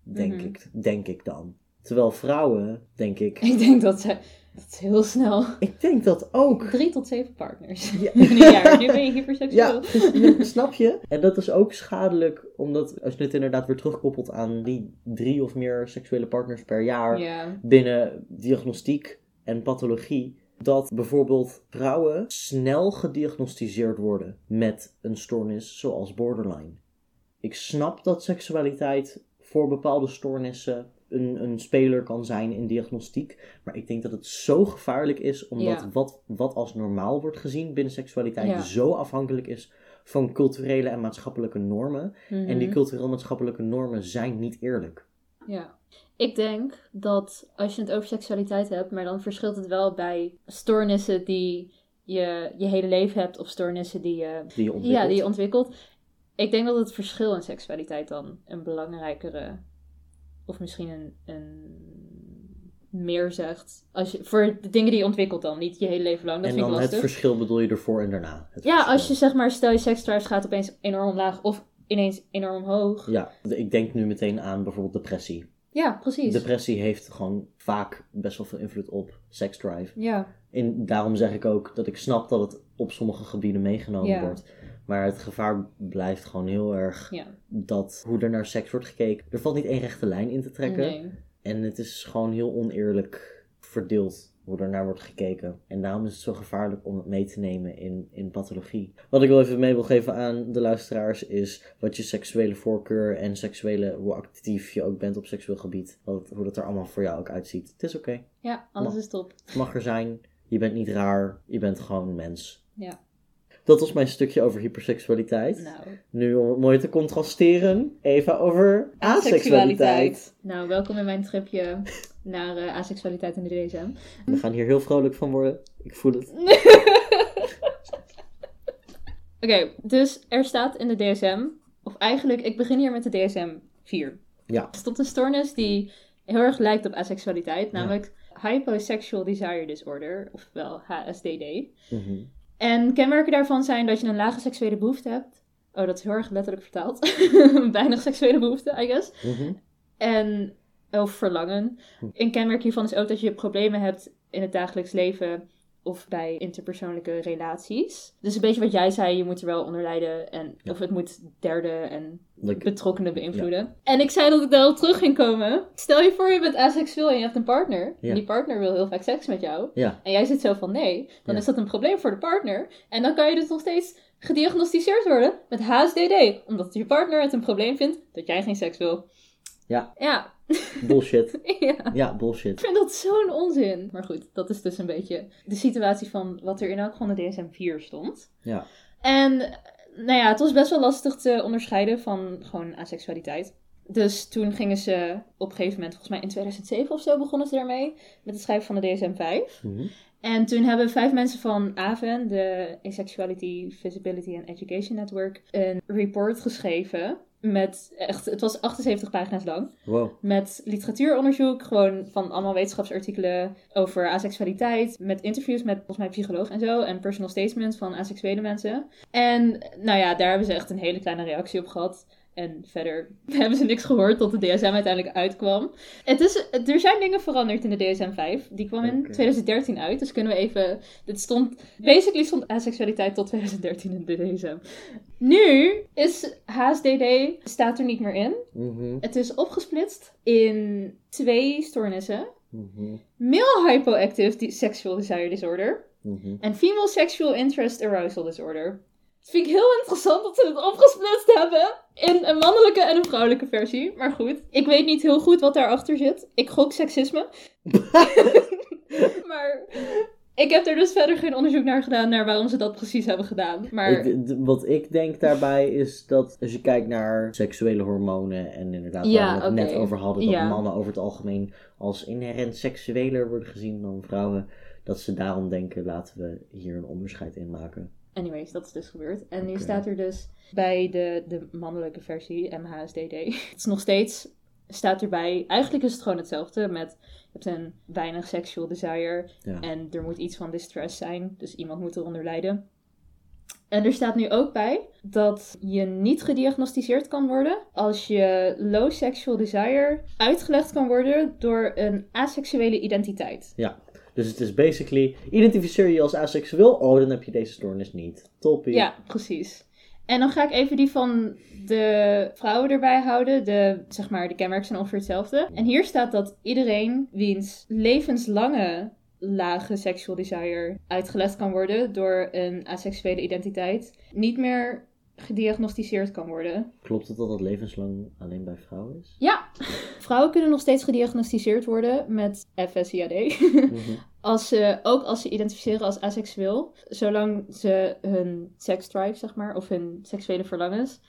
[SPEAKER 1] Denk,
[SPEAKER 2] Mhm.
[SPEAKER 1] ik, denk ik dan. Terwijl vrouwen, denk ik.
[SPEAKER 2] Ik denk dat ze... Dat is heel snel.
[SPEAKER 1] Ik denk dat ook.
[SPEAKER 2] Drie tot zeven partners.
[SPEAKER 1] Ja.
[SPEAKER 2] In een jaar. Nu ben je hyperseksueel.
[SPEAKER 1] Ja, dus, ja, snap je? En dat is ook schadelijk, omdat als je het inderdaad weer terugkoppelt aan die drie of meer seksuele partners per jaar
[SPEAKER 2] Ja.
[SPEAKER 1] binnen diagnostiek en pathologie, dat bijvoorbeeld vrouwen snel gediagnosticeerd worden met een stoornis zoals borderline. Ik snap dat seksualiteit voor bepaalde stoornissen een, een speler kan zijn in diagnostiek, maar ik denk dat het zo gevaarlijk is omdat
[SPEAKER 2] Ja.
[SPEAKER 1] wat, wat als normaal wordt gezien binnen seksualiteit
[SPEAKER 2] Ja.
[SPEAKER 1] zo afhankelijk is van culturele en maatschappelijke normen. En die
[SPEAKER 2] Mhm.
[SPEAKER 1] cultureel maatschappelijke normen zijn niet eerlijk.
[SPEAKER 2] Ja. Ik denk dat als je het over seksualiteit hebt, maar dan verschilt het wel bij stoornissen die je je hele leven hebt of stoornissen die je,
[SPEAKER 1] Die je ontwikkelt.
[SPEAKER 2] ja, die je ontwikkelt. Ik denk dat het verschil in seksualiteit dan een belangrijkere, of misschien een, een meer zegt. Als je, voor de dingen die je ontwikkelt dan, niet je hele leven lang. Dat
[SPEAKER 1] en
[SPEAKER 2] vind ik
[SPEAKER 1] dan het
[SPEAKER 2] lastig.
[SPEAKER 1] verschil bedoel je ervoor en daarna. Het
[SPEAKER 2] ja,
[SPEAKER 1] verschil.
[SPEAKER 2] als je zeg maar, stel je seksdrive gaat opeens enorm omlaag of ineens enorm hoog. Ja,
[SPEAKER 1] Ja, de- ik denk nu meteen aan bijvoorbeeld depressie.
[SPEAKER 2] precies.
[SPEAKER 1] Depressie heeft gewoon vaak best wel veel invloed op seksdrive.
[SPEAKER 2] ja,
[SPEAKER 1] En daarom zeg ik ook dat ik snap dat het op sommige gebieden meegenomen
[SPEAKER 2] Ja.
[SPEAKER 1] wordt. Maar het gevaar blijft gewoon heel erg
[SPEAKER 2] ja.
[SPEAKER 1] dat hoe er naar seks wordt gekeken. Er valt niet één rechte lijn in te trekken.
[SPEAKER 2] Nee.
[SPEAKER 1] En het is gewoon heel oneerlijk verdeeld hoe er naar wordt gekeken. En daarom is het zo gevaarlijk om het mee te nemen in, in pathologie. Wat ik wel even mee wil geven aan de luisteraars is wat je seksuele voorkeur en seksuele, hoe actief je ook bent op seksueel gebied, wat, hoe dat er allemaal voor jou ook uitziet. Het is oké.
[SPEAKER 2] Ja, alles
[SPEAKER 1] Maar-
[SPEAKER 2] is top.
[SPEAKER 1] Het mag er zijn. Je bent niet raar. Je bent gewoon mens.
[SPEAKER 2] Ja.
[SPEAKER 1] Dat was mijn stukje over hyperseksualiteit.
[SPEAKER 2] Nou,
[SPEAKER 1] Nu om het mooi te contrasteren, even over aseksualiteit.
[SPEAKER 2] nou welkom in mijn tripje naar eh, aseksualiteit in de DSM.
[SPEAKER 1] We gaan hier heel vrolijk van worden. Ik voel het.
[SPEAKER 2] Oké, dus er staat in de DSM, of eigenlijk, ik begin hier met de DSM 4.
[SPEAKER 1] Ja.
[SPEAKER 2] Er stond een stoornis die heel erg lijkt op aseksualiteit, namelijk Hyposexual Desire Disorder, ofwel HSDD.
[SPEAKER 1] Mhm.
[SPEAKER 2] En kenmerken daarvan zijn dat je een lage seksuele behoefte hebt. Oh, dat is heel erg letterlijk vertaald. Weinig seksuele behoefte, I guess.
[SPEAKER 1] Mhm.
[SPEAKER 2] En, of verlangen.
[SPEAKER 1] Hm.
[SPEAKER 2] Een kenmerk hiervan is ook dat je problemen hebt in het dagelijks leven of bij interpersoonlijke relaties. Dus een beetje wat jij zei, je moet er wel onder lijden en
[SPEAKER 1] Ja.
[SPEAKER 2] of het moet derde en
[SPEAKER 1] Dat ik-
[SPEAKER 2] betrokkenen beïnvloeden. En ik zei dat ik daarop terug ging komen. Stel je voor, je bent asexueel en je hebt een partner.
[SPEAKER 1] Ja.
[SPEAKER 2] En die partner wil heel vaak seks met jou.
[SPEAKER 1] Ja,
[SPEAKER 2] En jij zit zo van nee, dan
[SPEAKER 1] Ja.
[SPEAKER 2] is dat een probleem voor de partner. En dan kan je dus nog steeds gediagnosticeerd worden met HSDD. Omdat je partner het een probleem vindt dat jij geen seks wil.
[SPEAKER 1] Ja.
[SPEAKER 2] Ja.
[SPEAKER 1] bullshit.
[SPEAKER 2] ja.
[SPEAKER 1] Ja,
[SPEAKER 2] Ik
[SPEAKER 1] bullshit.
[SPEAKER 2] vind dat zo'n onzin. Maar goed, dat is dus een beetje de situatie van wat er in elk van de DSM-4 stond.
[SPEAKER 1] Ja.
[SPEAKER 2] En eh, nou ja, het was best wel lastig te onderscheiden van gewoon aseksualiteit. Dus toen gingen ze op een gegeven moment, volgens mij in 2007 of zo, begonnen ze daarmee met het schrijven van de DSM-5.
[SPEAKER 1] Mhm.
[SPEAKER 2] En toen hebben vijf mensen van AVEN, de Asexuality, Visibility and Education Network, een report geschreven. Met echt, het was 78 pagina's lang.
[SPEAKER 1] Wow.
[SPEAKER 2] Met literatuuronderzoek, gewoon van allemaal wetenschapsartikelen over asexualiteit. Met interviews met volgens mij psycholoog en zo. En personal statements van asexuele mensen. En nou ja, daar hebben ze echt een hele kleine reactie op gehad. En verder hebben ze niks gehoord tot de DSM uiteindelijk uitkwam. Het is, er zijn dingen veranderd in de DSM-5. Die kwam in
[SPEAKER 1] Oké.
[SPEAKER 2] 2013 uit. Dus kunnen we even... Dit stond... Basically stond asexualiteit tot 2013 in de DSM. Nu is HSDD... Staat er niet meer in.
[SPEAKER 1] Mhm.
[SPEAKER 2] Het is opgesplitst in twee stoornissen.
[SPEAKER 1] Mhm.
[SPEAKER 2] Male Hypoactive di- Sexual Desire Disorder
[SPEAKER 1] Mhm.
[SPEAKER 2] en Female Sexual Interest Arousal Disorder. Dat vind ik heel interessant dat ze het opgesplitst hebben in een mannelijke en een vrouwelijke versie. Maar goed, ik weet niet heel goed wat daarachter zit. Ik gok seksisme. maar ik heb er dus verder geen onderzoek naar gedaan naar waarom ze dat precies hebben gedaan. Maar
[SPEAKER 1] Ik- d- wat ik denk daarbij is dat als je kijkt naar seksuele hormonen en inderdaad
[SPEAKER 2] Ja,
[SPEAKER 1] waar we het net
[SPEAKER 2] oké.
[SPEAKER 1] over hadden, dat
[SPEAKER 2] Ja.
[SPEAKER 1] mannen over het algemeen als inherent seksueler worden gezien dan vrouwen, dat ze daarom denken laten we hier een onderscheid in maken.
[SPEAKER 2] Anyways, dat is dus gebeurd. En nu
[SPEAKER 1] Oké.
[SPEAKER 2] staat er dus bij de, de mannelijke versie, MHSDD. Het is nog steeds, staat erbij, eigenlijk is het gewoon hetzelfde met, je hebt een weinig sexual desire
[SPEAKER 1] Ja.
[SPEAKER 2] en er moet iets van distress zijn, dus iemand moet eronder lijden. En er staat nu ook bij dat je niet gediagnosticeerd kan worden als je low sexual desire uitgelegd kan worden door een asexuele identiteit.
[SPEAKER 1] Dus het is basically, identificeer je als asexueel, oh dan heb je deze stoornis niet. Toppie.
[SPEAKER 2] Ja, precies. En dan ga ik even die van de vrouwen erbij houden. De, zeg maar, de kenmerken zijn ongeveer hetzelfde. En hier staat dat iedereen wiens levenslange lage sexual desire uitgelegd kan worden door een asexuele identiteit, niet meer gediagnosticeerd kan worden.
[SPEAKER 1] Klopt het dat dat levenslang alleen bij vrouwen is?
[SPEAKER 2] Ja, vrouwen kunnen nog steeds gediagnosticeerd worden met FSIAD.
[SPEAKER 1] Mhm.
[SPEAKER 2] Als ze, ook als ze identificeren als asexueel, zolang ze hun seksdrive, zeg maar, of hun seksuele verlangens,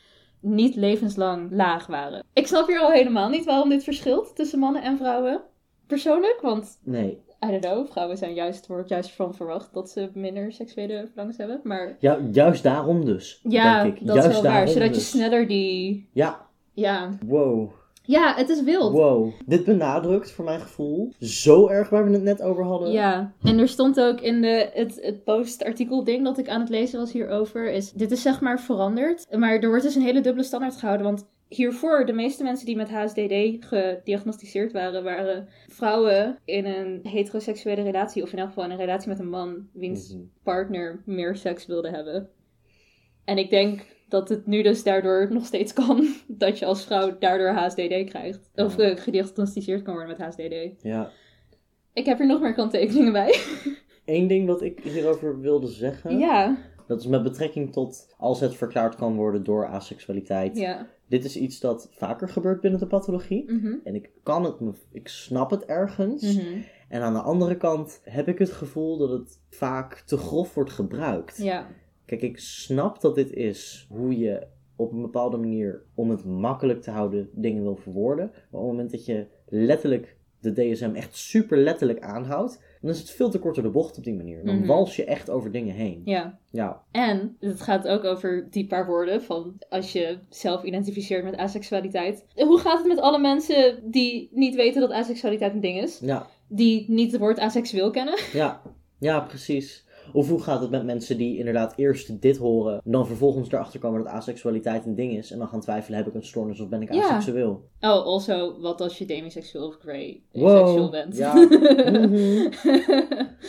[SPEAKER 2] niet levenslang laag waren. Ik snap hier al helemaal niet waarom dit verschilt tussen mannen en vrouwen. Persoonlijk, want,
[SPEAKER 1] Nee.
[SPEAKER 2] I don't know, vrouwen zijn juist, wordt juist van verwacht dat ze minder seksuele verlangens hebben. Maar
[SPEAKER 1] Ja, juist daarom dus.
[SPEAKER 2] ja,
[SPEAKER 1] denk ik.
[SPEAKER 2] dat
[SPEAKER 1] juist
[SPEAKER 2] is wel waar,
[SPEAKER 1] daarom
[SPEAKER 2] zodat je
[SPEAKER 1] dus.
[SPEAKER 2] sneller die...
[SPEAKER 1] Ja,
[SPEAKER 2] Ja,
[SPEAKER 1] wow.
[SPEAKER 2] ja het is wild.
[SPEAKER 1] Wow, dit benadrukt voor mijn gevoel zo erg waar we het net over hadden.
[SPEAKER 2] Ja, en er stond ook in de, het, het postartikel ding dat ik aan het lezen was hierover, is dit is zeg maar veranderd. Maar er wordt dus een hele dubbele standaard gehouden, want hiervoor, de meeste mensen die met HSDD gediagnosticeerd waren, waren vrouwen in een heteroseksuele relatie, of in elk geval in een relatie met een man, wiens
[SPEAKER 1] Mhm.
[SPEAKER 2] partner meer seks wilde hebben. En ik denk dat het nu dus daardoor nog steeds kan, dat je als vrouw daardoor HSDD krijgt. Of
[SPEAKER 1] Ja.
[SPEAKER 2] eh, gediagnosticeerd kan worden met HSDD.
[SPEAKER 1] Ja.
[SPEAKER 2] Ik heb er nog meer kanttekeningen bij.
[SPEAKER 1] Eén ding wat ik hierover wilde zeggen,
[SPEAKER 2] Ja,
[SPEAKER 1] dat is met betrekking tot als het verklaard kan worden door asexualiteit.
[SPEAKER 2] ja. Mm-hmm. Mhm.
[SPEAKER 1] Dit is iets dat vaker gebeurt binnen de pathologie. En ik kan het, me, ik snap het ergens. En aan de andere kant heb ik het gevoel dat het vaak te grof wordt gebruikt.
[SPEAKER 2] Ja,
[SPEAKER 1] Kijk, ik snap dat dit is hoe je op een bepaalde manier, om het makkelijk te houden, dingen wil verwoorden. Maar op het moment dat je letterlijk de DSM echt super letterlijk aanhoudt, dan is het veel te kort door de bocht op die manier. Dan
[SPEAKER 2] Mhm.
[SPEAKER 1] wals je echt over dingen heen.
[SPEAKER 2] ja.
[SPEAKER 1] Ja,
[SPEAKER 2] En het gaat ook over die paar woorden van als je zelf identificeert met asexualiteit. Hoe gaat het met alle mensen die niet weten dat asexualiteit een ding is?
[SPEAKER 1] ja,
[SPEAKER 2] Die niet het woord asexueel kennen?
[SPEAKER 1] ja, ja, precies. Of hoe gaat het met mensen die inderdaad eerst dit horen, dan vervolgens erachter komen dat asexualiteit een ding is en dan gaan twijfelen, heb ik een stoornis of ben ik
[SPEAKER 2] Ja.
[SPEAKER 1] asexueel?
[SPEAKER 2] Oh, also, wat als je demiseksueel of grey
[SPEAKER 1] Wow,
[SPEAKER 2] seksueel bent.
[SPEAKER 1] ja. Mhm.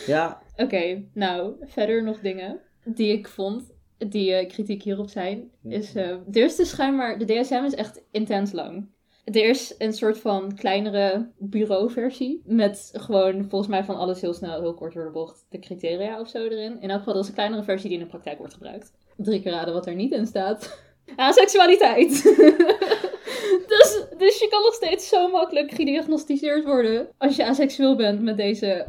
[SPEAKER 1] Ja,
[SPEAKER 2] Oké, nou, verder nog dingen die ik vond, die eh, kritiek hierop zijn, is... eh, er is dus schijnbaar, de DSM is echt intens lang. Er is een soort van kleinere bureauversie met gewoon volgens mij van alles heel snel, heel kort door de bocht, de criteria of zo erin. In elk geval, dat is een kleinere versie die in de praktijk wordt gebruikt. Drie keer raden wat er niet in staat. Aseksualiteit! dus, dus je kan nog steeds zo makkelijk gediagnosticeerd worden als je aseksueel bent met deze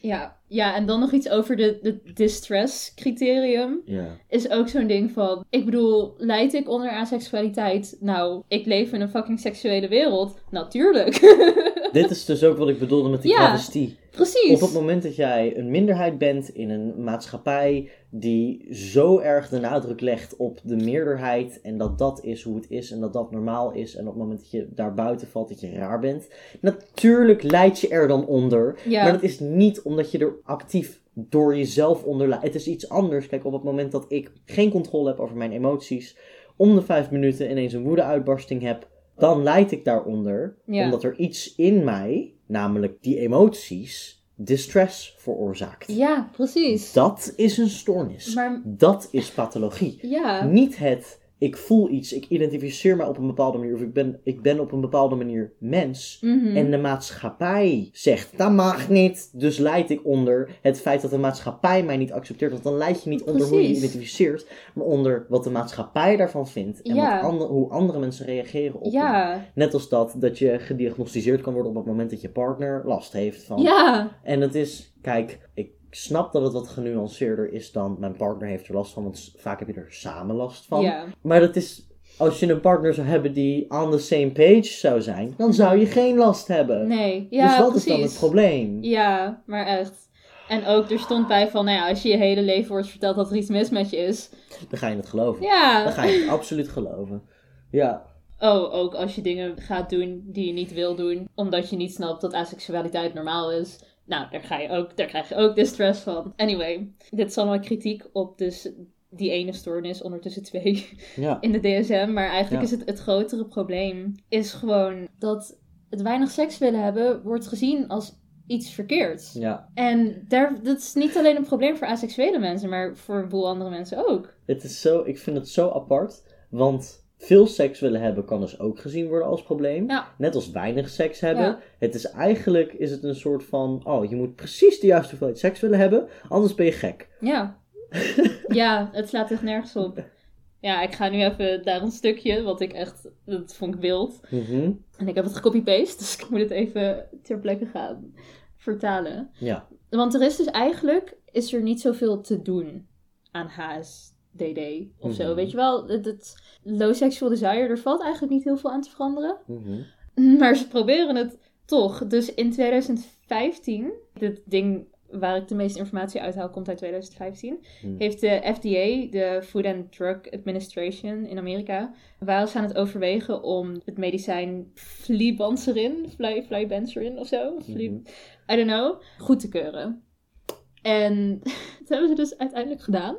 [SPEAKER 2] ja, ja, en dan nog iets over de, de distress criterium.
[SPEAKER 1] ja.
[SPEAKER 2] Is ook zo'n ding van, ik bedoel, leid ik onder aseksualiteit? Nou, ik leef in een fucking seksuele wereld. Natuurlijk.
[SPEAKER 1] Dit is dus ook wat ik bedoelde met die
[SPEAKER 2] Ja.
[SPEAKER 1] travestie. Op
[SPEAKER 2] Precies.
[SPEAKER 1] het moment dat jij een minderheid bent in een maatschappij die zo erg de nadruk legt op de meerderheid en dat dat is hoe het is en dat dat normaal is en op het moment dat je daar buiten valt dat je raar bent, natuurlijk leid je er dan onder.
[SPEAKER 2] Ja.
[SPEAKER 1] Maar dat is niet omdat je er actief door jezelf onder leidt. Het is iets anders. Kijk, op het moment dat ik geen controle heb over mijn emoties, om de vijf minuten ineens een woedeuitbarsting heb, dan leid ik daaronder.
[SPEAKER 2] Ja.
[SPEAKER 1] Omdat er iets in mij, namelijk die emoties, distress veroorzaakt.
[SPEAKER 2] Ja, precies.
[SPEAKER 1] Dat is een stoornis.
[SPEAKER 2] Maar
[SPEAKER 1] Dat is pathologie.
[SPEAKER 2] ja,
[SPEAKER 1] Niet het, ik voel iets, ik identificeer mij op een bepaalde manier, of ik ben, ik ben op een bepaalde manier mens.
[SPEAKER 2] mhm.
[SPEAKER 1] En de maatschappij zegt, dat mag niet, dus leid ik onder het feit dat de maatschappij mij niet accepteert. Want dan leid je niet onder hoe je je
[SPEAKER 2] Precies.
[SPEAKER 1] identificeert, maar onder wat de maatschappij daarvan vindt en
[SPEAKER 2] Ja.
[SPEAKER 1] wat ander- hoe andere mensen reageren op je.
[SPEAKER 2] ja,
[SPEAKER 1] Net als dat, dat je gediagnosticeerd kan worden op het moment dat je partner last heeft van...
[SPEAKER 2] ja,
[SPEAKER 1] En het is, kijk, ik snap dat het wat genuanceerder is dan mijn partner heeft er last van, want s- vaak heb je er samen last van.
[SPEAKER 2] ja.
[SPEAKER 1] Maar dat is, als je een partner zou hebben die on the same page zou zijn, dan zou je geen last hebben.
[SPEAKER 2] Nee, ja,
[SPEAKER 1] dus wat
[SPEAKER 2] precies.
[SPEAKER 1] is dan het probleem?
[SPEAKER 2] Ja, maar echt. En ook, er stond bij van, nou ja, als je je hele leven wordt verteld dat er iets mis met je is.
[SPEAKER 1] Dan ga je het geloven.
[SPEAKER 2] Ja.
[SPEAKER 1] Dan ga je het absoluut geloven. Ja,
[SPEAKER 2] Oh, ook als je dingen gaat doen die je niet wil doen, omdat je niet snapt dat aseksualiteit normaal is. Nou, daar, ga je ook, daar krijg je ook distress van. Anyway, dit is allemaal kritiek op dus die ene stoornis, ondertussen twee,
[SPEAKER 1] ja.
[SPEAKER 2] in de DSM. Maar eigenlijk
[SPEAKER 1] Ja.
[SPEAKER 2] is het het grotere probleem, is gewoon dat het weinig seks willen hebben wordt gezien als iets verkeerds.
[SPEAKER 1] ja.
[SPEAKER 2] En daar, dat is niet alleen een probleem voor aseksuele mensen, maar voor een boel andere mensen ook.
[SPEAKER 1] Het is zo, ik vind het zo apart, want veel seks willen hebben kan dus ook gezien worden als probleem.
[SPEAKER 2] Ja.
[SPEAKER 1] Net als weinig seks hebben.
[SPEAKER 2] Ja.
[SPEAKER 1] Het is eigenlijk, is het een soort van, oh, je moet precies de juiste hoeveelheid seks willen hebben, anders ben je gek.
[SPEAKER 2] Ja. ja, het slaat echt nergens op. Ja, ik ga nu even daar een stukje, wat ik echt, dat vond ik wild.
[SPEAKER 1] Mhm.
[SPEAKER 2] En ik heb het gecopy-paste, dus ik moet het even ter plekke gaan vertalen.
[SPEAKER 1] Ja,
[SPEAKER 2] Want er is dus eigenlijk, is er niet zoveel te doen aan HSDD of zo.
[SPEAKER 1] Mhm.
[SPEAKER 2] Weet je wel, het, het low sexual desire, er valt eigenlijk niet heel veel aan te veranderen.
[SPEAKER 1] Mhm.
[SPEAKER 2] Maar ze proberen het toch. Dus in 2015, dit ding waar ik de meeste informatie uithaal komt uit 2015,
[SPEAKER 1] Hmm.
[SPEAKER 2] heeft de FDA, de Food and Drug Administration in Amerika, waren ze aan het overwegen om het medicijn flibanserin, fly, flybanserin of zo, fli-
[SPEAKER 1] Mhm.
[SPEAKER 2] I don't know, goed te keuren. En dat hebben ze dus uiteindelijk gedaan.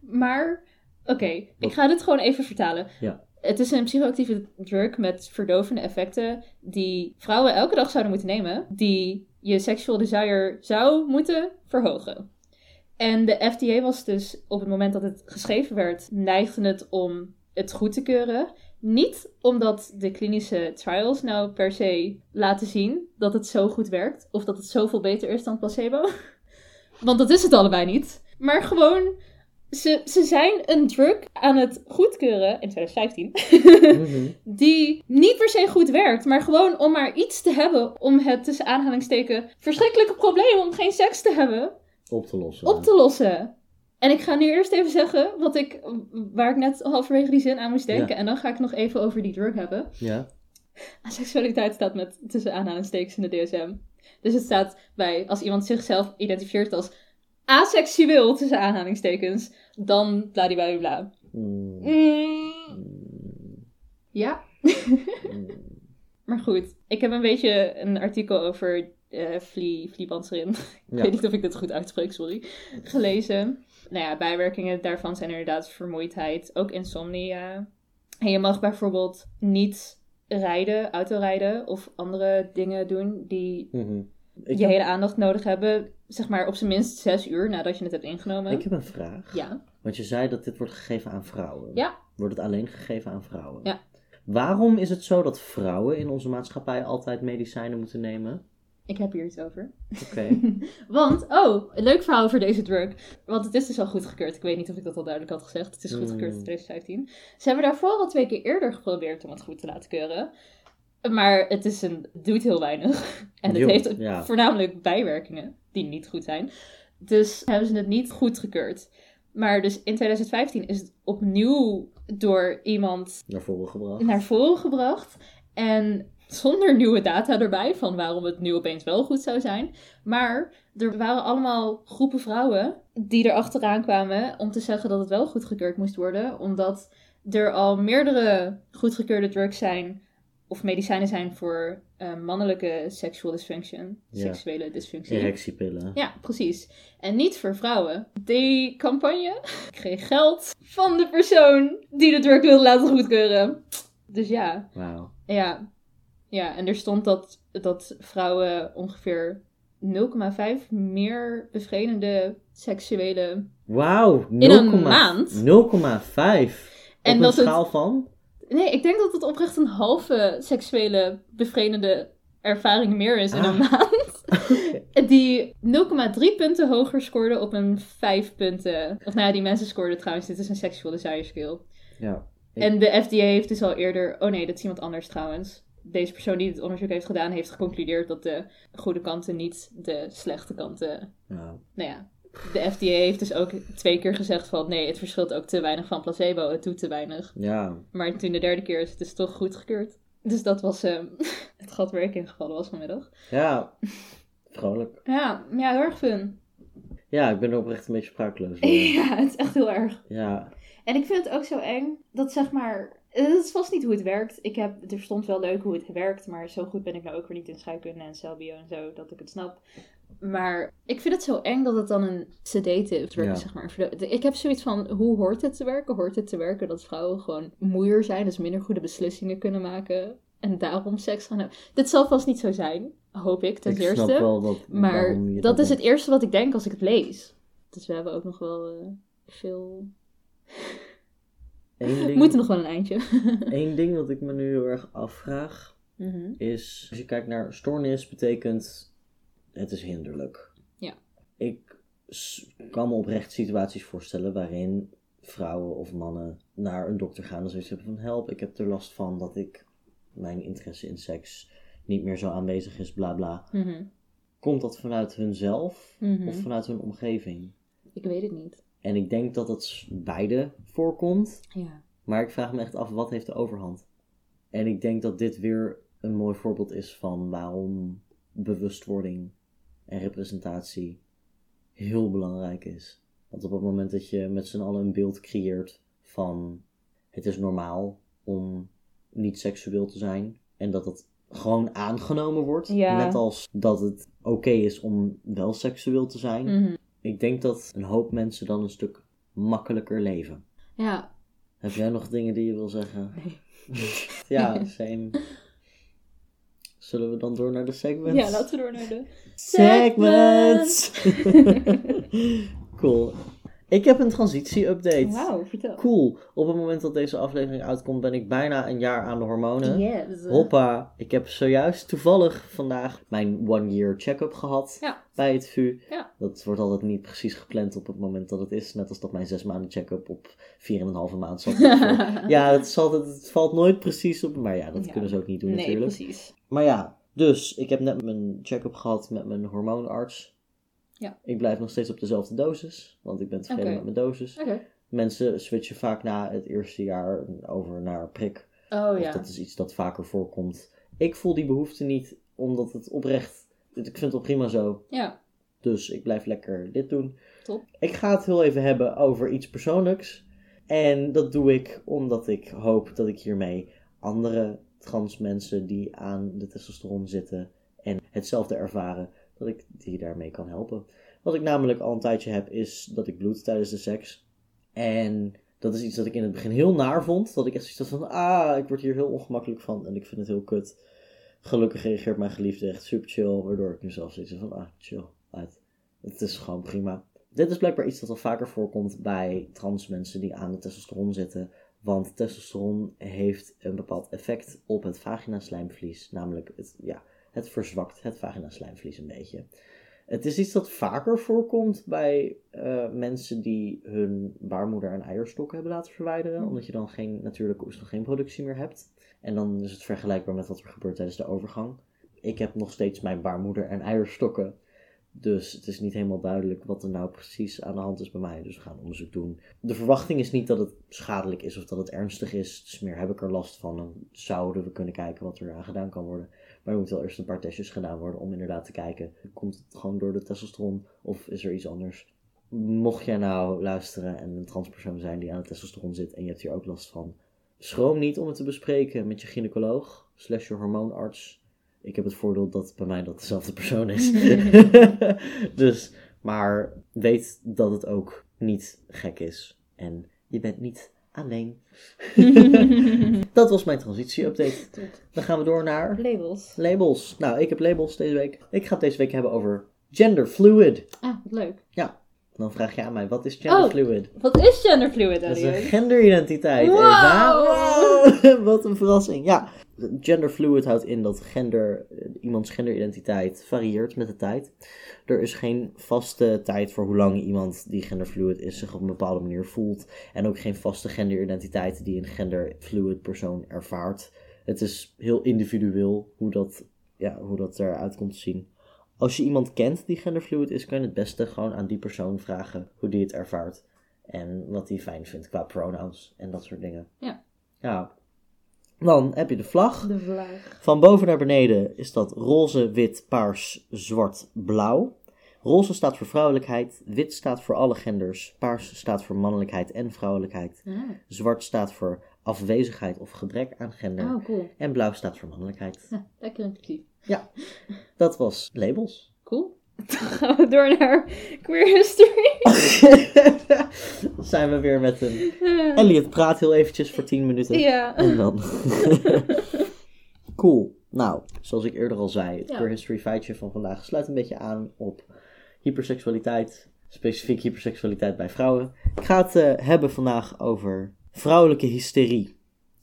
[SPEAKER 2] Maar, oké, ik
[SPEAKER 1] Wat-
[SPEAKER 2] ga dit gewoon even vertalen.
[SPEAKER 1] Ja.
[SPEAKER 2] Het is een psychoactieve drug met verdovende effecten die vrouwen elke dag zouden moeten nemen, die je sexual desire zou moeten verhogen. En de FDA was dus op het moment dat het geschreven werd, neigde het om het goed te keuren. Niet omdat de klinische trials nou per se laten zien dat het zo goed werkt of dat het zoveel beter is dan placebo. Want dat is het allebei niet. Maar gewoon, ze, ze zijn een drug aan het goedkeuren in 2015.
[SPEAKER 1] Mhm.
[SPEAKER 2] die niet per se goed werkt, maar gewoon om maar iets te hebben om het tussen aanhalingsteken verschrikkelijke probleem om geen seks te hebben
[SPEAKER 1] Op te lossen.
[SPEAKER 2] op te lossen. En ik ga nu eerst even zeggen wat ik, waar ik net halverwege die zin aan moest denken. En dan ga ik nog even over die drug hebben.
[SPEAKER 1] Ja.
[SPEAKER 2] Seksualiteit staat met tussen aanhalingstekens in de DSM. Dus het staat bij als iemand zichzelf identificeert als aseksueel tussen aanhalingstekens, dan bladibladibla.
[SPEAKER 1] Mm.
[SPEAKER 2] Mm,
[SPEAKER 1] Mm.
[SPEAKER 2] ja,
[SPEAKER 1] Mm.
[SPEAKER 2] Maar goed, ik heb een beetje een artikel over eh Vlie, Vliebandserin. Ik
[SPEAKER 1] Ja.
[SPEAKER 2] weet niet of ik dit goed uitspreek, sorry. Gelezen. Nou ja, bijwerkingen daarvan zijn inderdaad vermoeidheid, ook insomnia. En je mag bijvoorbeeld niet rijden, autorijden of andere dingen doen die
[SPEAKER 1] Mhm. Ik,
[SPEAKER 2] je
[SPEAKER 1] heb,
[SPEAKER 2] hele aandacht nodig hebben. Zeg maar op zijn minst zes uur nadat je het hebt ingenomen.
[SPEAKER 1] Mm. ik heb een vraag.
[SPEAKER 2] Ja.
[SPEAKER 1] Want je zei dat dit wordt gegeven aan vrouwen.
[SPEAKER 2] Ja.
[SPEAKER 1] Wordt het alleen gegeven aan vrouwen?
[SPEAKER 2] Ja.
[SPEAKER 1] Waarom is het zo dat vrouwen in onze maatschappij altijd medicijnen moeten nemen?
[SPEAKER 2] Ik heb hier iets over.
[SPEAKER 1] Oké.
[SPEAKER 2] Want, oh, een leuk verhaal over deze drug. Want het is dus al goedgekeurd. Ik weet niet of ik dat al duidelijk had gezegd. Het is goedgekeurd in
[SPEAKER 1] Mm.
[SPEAKER 2] 2015. Ze hebben daarvoor al twee keer eerder geprobeerd om het goed te laten keuren. Maar het is een, doet heel weinig. En het
[SPEAKER 1] Heel,
[SPEAKER 2] heeft
[SPEAKER 1] ja.
[SPEAKER 2] voornamelijk bijwerkingen die niet goed zijn. Dus hebben ze het niet goedgekeurd. Maar dus in 2015 is het opnieuw door iemand
[SPEAKER 1] Naar voren gebracht.
[SPEAKER 2] naar voren gebracht. En zonder nieuwe data erbij van waarom het nu opeens wel goed zou zijn. Maar er waren allemaal groepen vrouwen die er achteraan kwamen om te zeggen dat het wel goedgekeurd moest worden. Omdat er al meerdere goedgekeurde drugs zijn of medicijnen zijn voor eh, mannelijke sexual dysfunction.
[SPEAKER 1] Ja.
[SPEAKER 2] Seksuele dysfunctie.
[SPEAKER 1] Erectiepillen.
[SPEAKER 2] Ja, precies. En niet voor vrouwen. Die campagne kreeg geld van de persoon die de druk wilde laten goedkeuren. Dus ja,
[SPEAKER 1] Wauw.
[SPEAKER 2] ja. Ja, en er stond dat, dat vrouwen ongeveer 0,5 meer bevredigende seksuele...
[SPEAKER 1] Wauw.
[SPEAKER 2] In een maand?
[SPEAKER 1] 0,5.
[SPEAKER 2] En
[SPEAKER 1] En Op
[SPEAKER 2] dat
[SPEAKER 1] een
[SPEAKER 2] het-
[SPEAKER 1] schaal van?
[SPEAKER 2] Nee, ik denk dat het oprecht een halve seksuele bevredigende ervaring meer is in
[SPEAKER 1] Ah.
[SPEAKER 2] een maand. Die 0,3 punten hoger scoorde op een 5 punten. Of nou ja, die mensen scoorden trouwens. Dit is een sexual desire skill.
[SPEAKER 1] Ja. Ik-
[SPEAKER 2] En de FDA heeft dus al eerder. Oh nee, dat is iemand anders trouwens. Deze persoon die dit onderzoek heeft gedaan, heeft geconcludeerd dat de goede kanten niet de slechte kanten.
[SPEAKER 1] Nou,
[SPEAKER 2] Nou ja, de FDA heeft dus ook twee keer gezegd van nee, het verschilt ook te weinig van placebo, het doet te weinig.
[SPEAKER 1] ja.
[SPEAKER 2] Maar toen de derde keer is het dus toch goedgekeurd. Dus dat was ehm, het gat waar ik ingevallen was vanmiddag.
[SPEAKER 1] Ja. Vrolijk.
[SPEAKER 2] Ja, ja, heel erg fun.
[SPEAKER 1] Ja, ik ben er oprecht een beetje sprakeloos van.
[SPEAKER 2] Ja, het is echt heel erg.
[SPEAKER 1] Ja.
[SPEAKER 2] En ik vind het ook zo eng dat zeg maar. Dat is vast niet hoe het werkt. Ik heb, er stond wel leuk hoe het werkt, maar zo goed ben ik nou ook weer niet in scheikunde en celbio en zo dat ik het snap. Maar ik vind het zo eng dat het dan een sedative drug
[SPEAKER 1] Ja.
[SPEAKER 2] is, zeg maar. Ik heb zoiets van, hoe hoort het te werken? Hoort het te werken dat vrouwen gewoon moeier zijn, dus minder goede beslissingen kunnen maken en daarom seks gaan hebben? Dit zal vast niet zo zijn, hoop ik, ten
[SPEAKER 1] ik
[SPEAKER 2] eerste.
[SPEAKER 1] snap wel wat,
[SPEAKER 2] Maar
[SPEAKER 1] waarom je
[SPEAKER 2] dat is het
[SPEAKER 1] doet.
[SPEAKER 2] eerste wat ik denk als ik het lees. Dus we hebben ook nog wel eh, veel
[SPEAKER 1] Eén
[SPEAKER 2] we
[SPEAKER 1] ding,
[SPEAKER 2] moeten nog wel een eindje.
[SPEAKER 1] één ding wat ik me nu heel erg afvraag
[SPEAKER 2] Mhm.
[SPEAKER 1] is, als je kijkt naar stoornis, betekent het is hinderlijk.
[SPEAKER 2] Ja.
[SPEAKER 1] Ik s- kan me oprecht situaties voorstellen waarin vrouwen of mannen naar een dokter gaan en zoiets hebben van help, ik heb er last van dat ik mijn interesse in seks niet meer zo aanwezig is, bla bla. Komt dat vanuit hunzelf
[SPEAKER 2] Mhm.
[SPEAKER 1] of vanuit hun omgeving?
[SPEAKER 2] Ik weet het niet.
[SPEAKER 1] En ik denk dat dat s- beide voorkomt.
[SPEAKER 2] Ja.
[SPEAKER 1] Maar ik vraag me echt af, wat heeft de overhand? En ik denk dat dit weer een mooi voorbeeld is van waarom bewustwording en representatie heel belangrijk is. Want op het moment dat je met z'n allen een beeld creëert van het is normaal om niet seksueel te zijn en dat dat gewoon aangenomen wordt,
[SPEAKER 2] Ja.
[SPEAKER 1] net als dat het oké is om wel seksueel te zijn.
[SPEAKER 2] Mm. Mhm.
[SPEAKER 1] Ik denk dat een hoop mensen dan een stuk makkelijker leven.
[SPEAKER 2] Ja.
[SPEAKER 1] Heb jij nog dingen die je wil zeggen?
[SPEAKER 2] Nee.
[SPEAKER 1] Dus, Ja, same. Zullen we dan door naar de segments?
[SPEAKER 2] Ja, laten we door naar de...
[SPEAKER 1] Segments! cool. Ik heb een transitie-update.
[SPEAKER 2] Wauw, vertel.
[SPEAKER 1] Cool. Op het moment dat deze aflevering uitkomt ben ik bijna een jaar aan de hormonen.
[SPEAKER 2] Ja, dus, eh,
[SPEAKER 1] Hoppa, ik heb zojuist toevallig vandaag mijn one-year check-up gehad
[SPEAKER 2] Ja.
[SPEAKER 1] bij het VU.
[SPEAKER 2] Ja.
[SPEAKER 1] Dat wordt altijd niet precies gepland op het moment dat het is. Net als dat mijn zes maanden check-up op 4,5 maand zat. ja, het, zal, het valt nooit precies op, maar ja, dat
[SPEAKER 2] Ja.
[SPEAKER 1] kunnen ze ook niet doen
[SPEAKER 2] nee,
[SPEAKER 1] natuurlijk.
[SPEAKER 2] precies.
[SPEAKER 1] Maar ja, dus ik heb net mijn check-up gehad met mijn hormoonarts.
[SPEAKER 2] Ja.
[SPEAKER 1] Ik blijf nog steeds op dezelfde dosis, want ik ben tevreden
[SPEAKER 2] Oké.
[SPEAKER 1] met mijn dosis.
[SPEAKER 2] Oké.
[SPEAKER 1] Mensen switchen vaak na het eerste jaar over naar prik.
[SPEAKER 2] Oh
[SPEAKER 1] Of
[SPEAKER 2] ja.
[SPEAKER 1] dat is iets dat vaker voorkomt. Ik voel die behoefte niet, omdat het oprecht... Ik vind het al prima zo,
[SPEAKER 2] Ja.
[SPEAKER 1] dus ik blijf lekker dit doen.
[SPEAKER 2] Top.
[SPEAKER 1] Ik ga het heel even hebben over iets persoonlijks. En dat doe ik omdat ik hoop dat ik hiermee andere trans mensen die aan de testosteron zitten en hetzelfde ervaren, dat ik die daarmee kan helpen. Wat ik namelijk al een tijdje heb, is dat ik bloed tijdens de seks. En dat is iets dat ik in het begin heel naar vond. Dat ik echt zoiets had van, ah, ik word hier heel ongemakkelijk van en ik vind het heel kut. Gelukkig reageert mijn geliefde echt super chill, waardoor ik mezelf zoiets heb van, ah, chill, uit. Het is gewoon prima. Dit is blijkbaar iets dat al vaker voorkomt bij trans mensen die aan de testosteron zitten. Want testosteron heeft een bepaald effect op het vaginaslijmvlies. Namelijk, het, ja, het verzwakt het vaginaslijmvlies een beetje. Het is iets dat vaker voorkomt bij eh, mensen die hun baarmoeder en eierstokken hebben laten verwijderen.
[SPEAKER 2] Hm.
[SPEAKER 1] Omdat je dan geen natuurlijke oestrogeenproductie meer hebt. En dan is het vergelijkbaar met wat er gebeurt tijdens de overgang. Ik heb nog steeds mijn baarmoeder en eierstokken. Dus het is niet helemaal duidelijk wat er nou precies aan de hand is bij mij. Dus we gaan onderzoek doen. De verwachting is niet dat het schadelijk is of dat het ernstig is. Dus meer heb ik er last van. Dan zouden we kunnen kijken wat er aan gedaan kan worden. Maar er moeten wel eerst een paar testjes gedaan worden om inderdaad te kijken. Komt het gewoon door de testosteron of is er iets anders? Mocht jij nou luisteren en een transpersoon zijn die aan het testosteron zit en je hebt hier ook last van. Schroom niet om het te bespreken met je gynaecoloog slash je hormoonarts. Ik heb het voordeel dat bij mij dat dezelfde persoon is. dus, maar weet dat het ook niet gek is. En je bent niet alleen. dat was mijn transitie-update.
[SPEAKER 2] Tot
[SPEAKER 1] Dan gaan we door naar...
[SPEAKER 2] labels.
[SPEAKER 1] Labels. Nou, ik heb labels deze week. Ik ga het deze week hebben over genderfluid.
[SPEAKER 2] Ah, wat leuk.
[SPEAKER 1] Dan vraag je aan mij, wat is genderfluid?
[SPEAKER 2] Wat is genderfluid,
[SPEAKER 1] dat is een
[SPEAKER 2] Elliot?
[SPEAKER 1] genderidentiteit,
[SPEAKER 2] Wow!
[SPEAKER 1] Eva. Wow, wat een verrassing. Ja, genderfluid houdt in dat gender, iemands genderidentiteit varieert met de tijd. Er is geen vaste tijd voor hoe lang iemand die genderfluid is zich op een bepaalde manier voelt. En ook geen vaste genderidentiteit die een genderfluid persoon ervaart. Het is heel individueel hoe dat, ja, hoe dat eruit komt te zien. Als je iemand kent die genderfluid is, kan je het beste gewoon aan die persoon vragen hoe die het ervaart. En wat hij fijn vindt qua pronouns en dat soort dingen.
[SPEAKER 2] Ja.
[SPEAKER 1] Ja. Dan heb je de vlag.
[SPEAKER 2] De vlaag.
[SPEAKER 1] Van boven naar beneden is dat roze, wit, paars, zwart, blauw. Roze staat voor vrouwelijkheid, wit staat voor alle genders, paars staat voor mannelijkheid en vrouwelijkheid,
[SPEAKER 2] Ah.
[SPEAKER 1] zwart staat voor afwezigheid of gebrek aan gender
[SPEAKER 2] Oh, cool.
[SPEAKER 1] en blauw staat voor mannelijkheid.
[SPEAKER 2] Ja, lekker inclusief.
[SPEAKER 1] Dat was labels.
[SPEAKER 2] Cool. Dan gaan we door naar queer history.
[SPEAKER 1] Zijn we weer met een... Elliot praat heel eventjes voor 10 minuten.
[SPEAKER 2] ja.
[SPEAKER 1] En dan. cool. Nou, zoals ik eerder al zei, het
[SPEAKER 2] Ja.
[SPEAKER 1] queer history feitje van vandaag sluit een beetje aan op hyperseksualiteit. Specifiek hyperseksualiteit bij vrouwen. Ik ga het eh, hebben vandaag over vrouwelijke hysterie.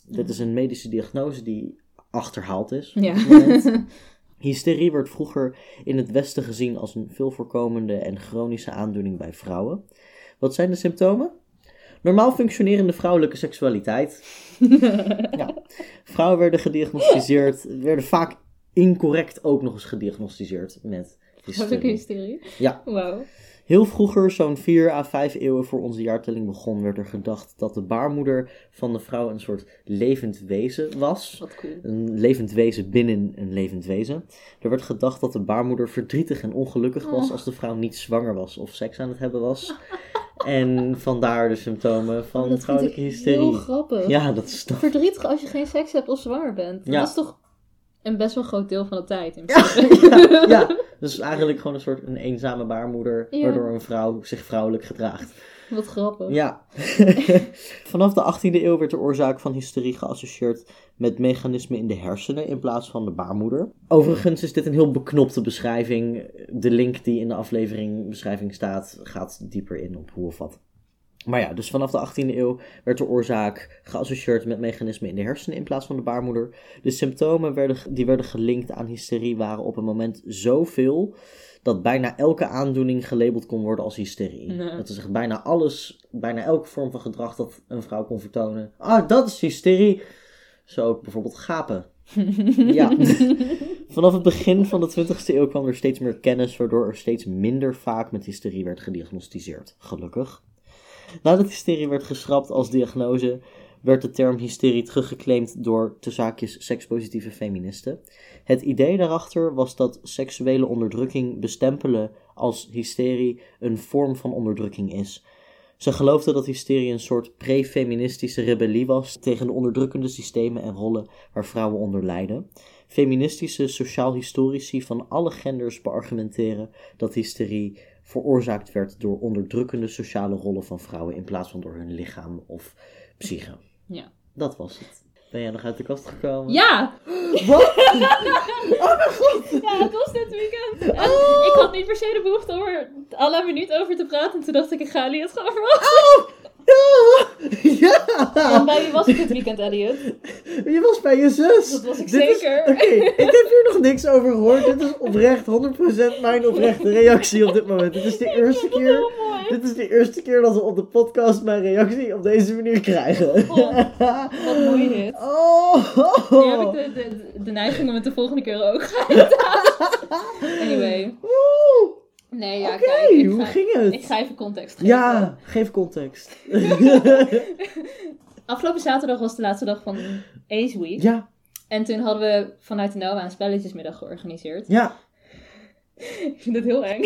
[SPEAKER 1] Dit is een medische diagnose die achterhaald is.
[SPEAKER 2] Ja.
[SPEAKER 1] Hysterie werd vroeger in het Westen gezien als een veel voorkomende en chronische aandoening bij vrouwen. Wat zijn de symptomen? Normaal functionerende vrouwelijke seksualiteit. ja. Vrouwen werden gediagnosticeerd, werden vaak incorrect ook nog eens gediagnosticeerd met
[SPEAKER 2] Vrouwelijke
[SPEAKER 1] hysterie.
[SPEAKER 2] hysterie.
[SPEAKER 1] Ja.
[SPEAKER 2] Wauw.
[SPEAKER 1] Heel vroeger, zo'n 4 à 5 eeuwen voor onze jaartelling begon, werd er gedacht dat de baarmoeder van de vrouw een soort levend wezen was
[SPEAKER 2] Wat cool.
[SPEAKER 1] een levend wezen binnen een levend wezen. Er werd gedacht dat de baarmoeder verdrietig en ongelukkig was
[SPEAKER 2] Oh.
[SPEAKER 1] als de vrouw niet zwanger was of seks aan het hebben was. en vandaar de symptomen van
[SPEAKER 2] Oh, Dat vind ik
[SPEAKER 1] vrouwelijke
[SPEAKER 2] heel
[SPEAKER 1] hysterie.
[SPEAKER 2] grappig.
[SPEAKER 1] Ja, dat is toch.
[SPEAKER 2] Verdrietig als je geen seks hebt of zwanger bent.
[SPEAKER 1] Ja.
[SPEAKER 2] Dat is toch een best wel groot deel van de tijd. in
[SPEAKER 1] Ja,
[SPEAKER 2] principe.
[SPEAKER 1] ja, ja. dus eigenlijk gewoon een soort een eenzame baarmoeder,
[SPEAKER 2] Ja.
[SPEAKER 1] waardoor een vrouw zich vrouwelijk gedraagt.
[SPEAKER 2] Wat grappig.
[SPEAKER 1] Ja. Vanaf de 18e eeuw werd de oorzaak van hysterie geassocieerd met mechanismen in de hersenen in plaats van de baarmoeder. Overigens is dit een heel beknopte beschrijving. De link die in de aflevering beschrijving staat gaat dieper in op hoe of wat. Maar ja, dus vanaf de 18e eeuw werd de oorzaak geassocieerd met mechanismen in de hersenen in plaats van de baarmoeder. De symptomen werden, die werden gelinkt aan hysterie waren op een moment zoveel dat bijna elke aandoening gelabeld kon worden als hysterie.
[SPEAKER 2] Nee.
[SPEAKER 1] Dat is echt bijna alles, bijna elke vorm van gedrag dat een vrouw kon vertonen. Ah, dat is hysterie. Zo ook bijvoorbeeld gapen. Ja. Vanaf het begin van de 20e eeuw kwam er steeds meer kennis, waardoor er steeds minder vaak met hysterie werd gediagnosticeerd. Gelukkig. Nadat hysterie werd geschrapt als diagnose, werd de term hysterie teruggeclaimd door te zaakjes sekspositieve feministen. Het idee daarachter was dat seksuele onderdrukking bestempelen als hysterie een vorm van onderdrukking is. Ze geloofden dat hysterie een soort pre-feministische rebellie was tegen de onderdrukkende systemen en rollen waar vrouwen onder lijden. Feministische sociaal-historici van alle genders beargumenteren dat hysterie veroorzaakt werd door onderdrukkende sociale rollen van vrouwen in plaats van door hun lichaam of psyche.
[SPEAKER 2] Ja.
[SPEAKER 1] Dat was het. Ben jij nog uit de kast gekomen?
[SPEAKER 2] Ja!
[SPEAKER 1] Wat? Oh mijn god!
[SPEAKER 2] Ja, dat was dit weekend. En
[SPEAKER 1] Oh.
[SPEAKER 2] Ik had niet per se de behoefte om er alle minuut over te praten. En toen dacht ik, ik ga Elliot gewoon verrassen.
[SPEAKER 1] Ja!
[SPEAKER 2] En bij wie was ik dit weekend, Elliot?
[SPEAKER 1] Je was bij je zus.
[SPEAKER 2] Dat was ik
[SPEAKER 1] Dit is-
[SPEAKER 2] zeker.
[SPEAKER 1] Oké, ik heb hier nog niks over gehoord. Dit is oprecht 100% mijn oprechte reactie op dit moment. Dit is de eerste keer.
[SPEAKER 2] Heel mooi.
[SPEAKER 1] Dit is de eerste keer dat we op de podcast mijn reactie op deze manier krijgen.
[SPEAKER 2] Oh, Wat mooi dit.
[SPEAKER 1] Oh.
[SPEAKER 2] Nu heb ik dus- de, de, de, de neiging om het de volgende keer ook uit te halen. Anyway.
[SPEAKER 1] Oeh.
[SPEAKER 2] Nee, ja,
[SPEAKER 1] Oké,
[SPEAKER 2] kijk. Ik
[SPEAKER 1] hoe
[SPEAKER 2] ga,
[SPEAKER 1] ging
[SPEAKER 2] ik
[SPEAKER 1] het?
[SPEAKER 2] ga even context geven.
[SPEAKER 1] Ja, geef context.
[SPEAKER 2] Afgelopen zaterdag was de laatste dag van Ace Week.
[SPEAKER 1] ja,
[SPEAKER 2] En toen hadden we vanuit de NOA een spelletjesmiddag georganiseerd.
[SPEAKER 1] ja.
[SPEAKER 2] Ik vind het heel eng.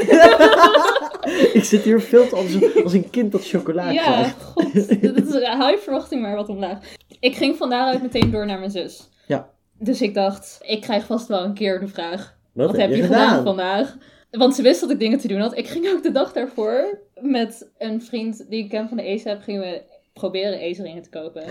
[SPEAKER 1] Ik zit hier veel te als een, als een kind dat chocola
[SPEAKER 2] Ja,
[SPEAKER 1] krijgt.
[SPEAKER 2] god. Dat is een high verwachting maar wat omlaag. Ik ging van daaruit meteen door naar mijn zus.
[SPEAKER 1] Ja.
[SPEAKER 2] Dus ik dacht, ik krijg vast wel een keer de vraag.
[SPEAKER 1] Wat,
[SPEAKER 2] Wat heb je gedaan? vandaag? Want ze wist dat ik dingen te doen had. Ik ging ook de dag daarvoor met een vriend die ik ken van de ASAP, gingen we proberen ACE-ringen te kopen.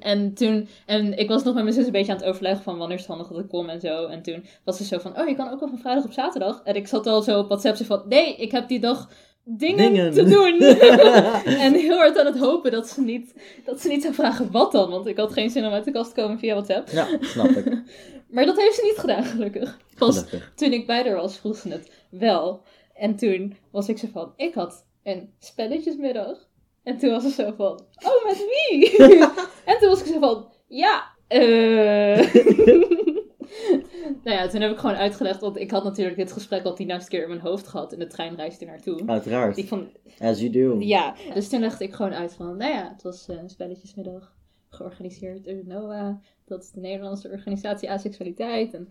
[SPEAKER 2] en toen, en ik was nog met mijn zus een beetje aan het overleggen van wanneer is het handig dat ik kom en zo. En toen was ze zo van, oh je kan ook wel van vrijdag op zaterdag. En ik zat al zo op WhatsApp zo van, nee, ik heb die dag dingen,
[SPEAKER 1] Dingen.
[SPEAKER 2] te doen. en heel hard aan het hopen dat ze, niet, dat ze niet zou vragen wat dan, want ik had geen zin om uit de kast te komen via WhatsApp.
[SPEAKER 1] Ja, snap ik.
[SPEAKER 2] Maar dat heeft ze niet gedaan, gelukkig. Pas
[SPEAKER 1] Gelukkig.
[SPEAKER 2] toen ik bij haar was, vroeg ze het wel. En toen was ik zo van, ik had een spelletjesmiddag. En toen was ze zo van, oh, met wie? en toen was ik zo van, ja, eh... nou ja, toen heb ik gewoon uitgelegd, want ik had natuurlijk dit gesprek al tienduizend keer in mijn hoofd gehad in de treinreis er naartoe.
[SPEAKER 1] Uiteraard.
[SPEAKER 2] Ik vond,
[SPEAKER 1] As you do.
[SPEAKER 2] ja, dus toen legde ik gewoon uit van, nou ja, het was eh, een spelletjesmiddag georganiseerd door NOA. Dat is de Nederlandse organisatie Asexualiteit. En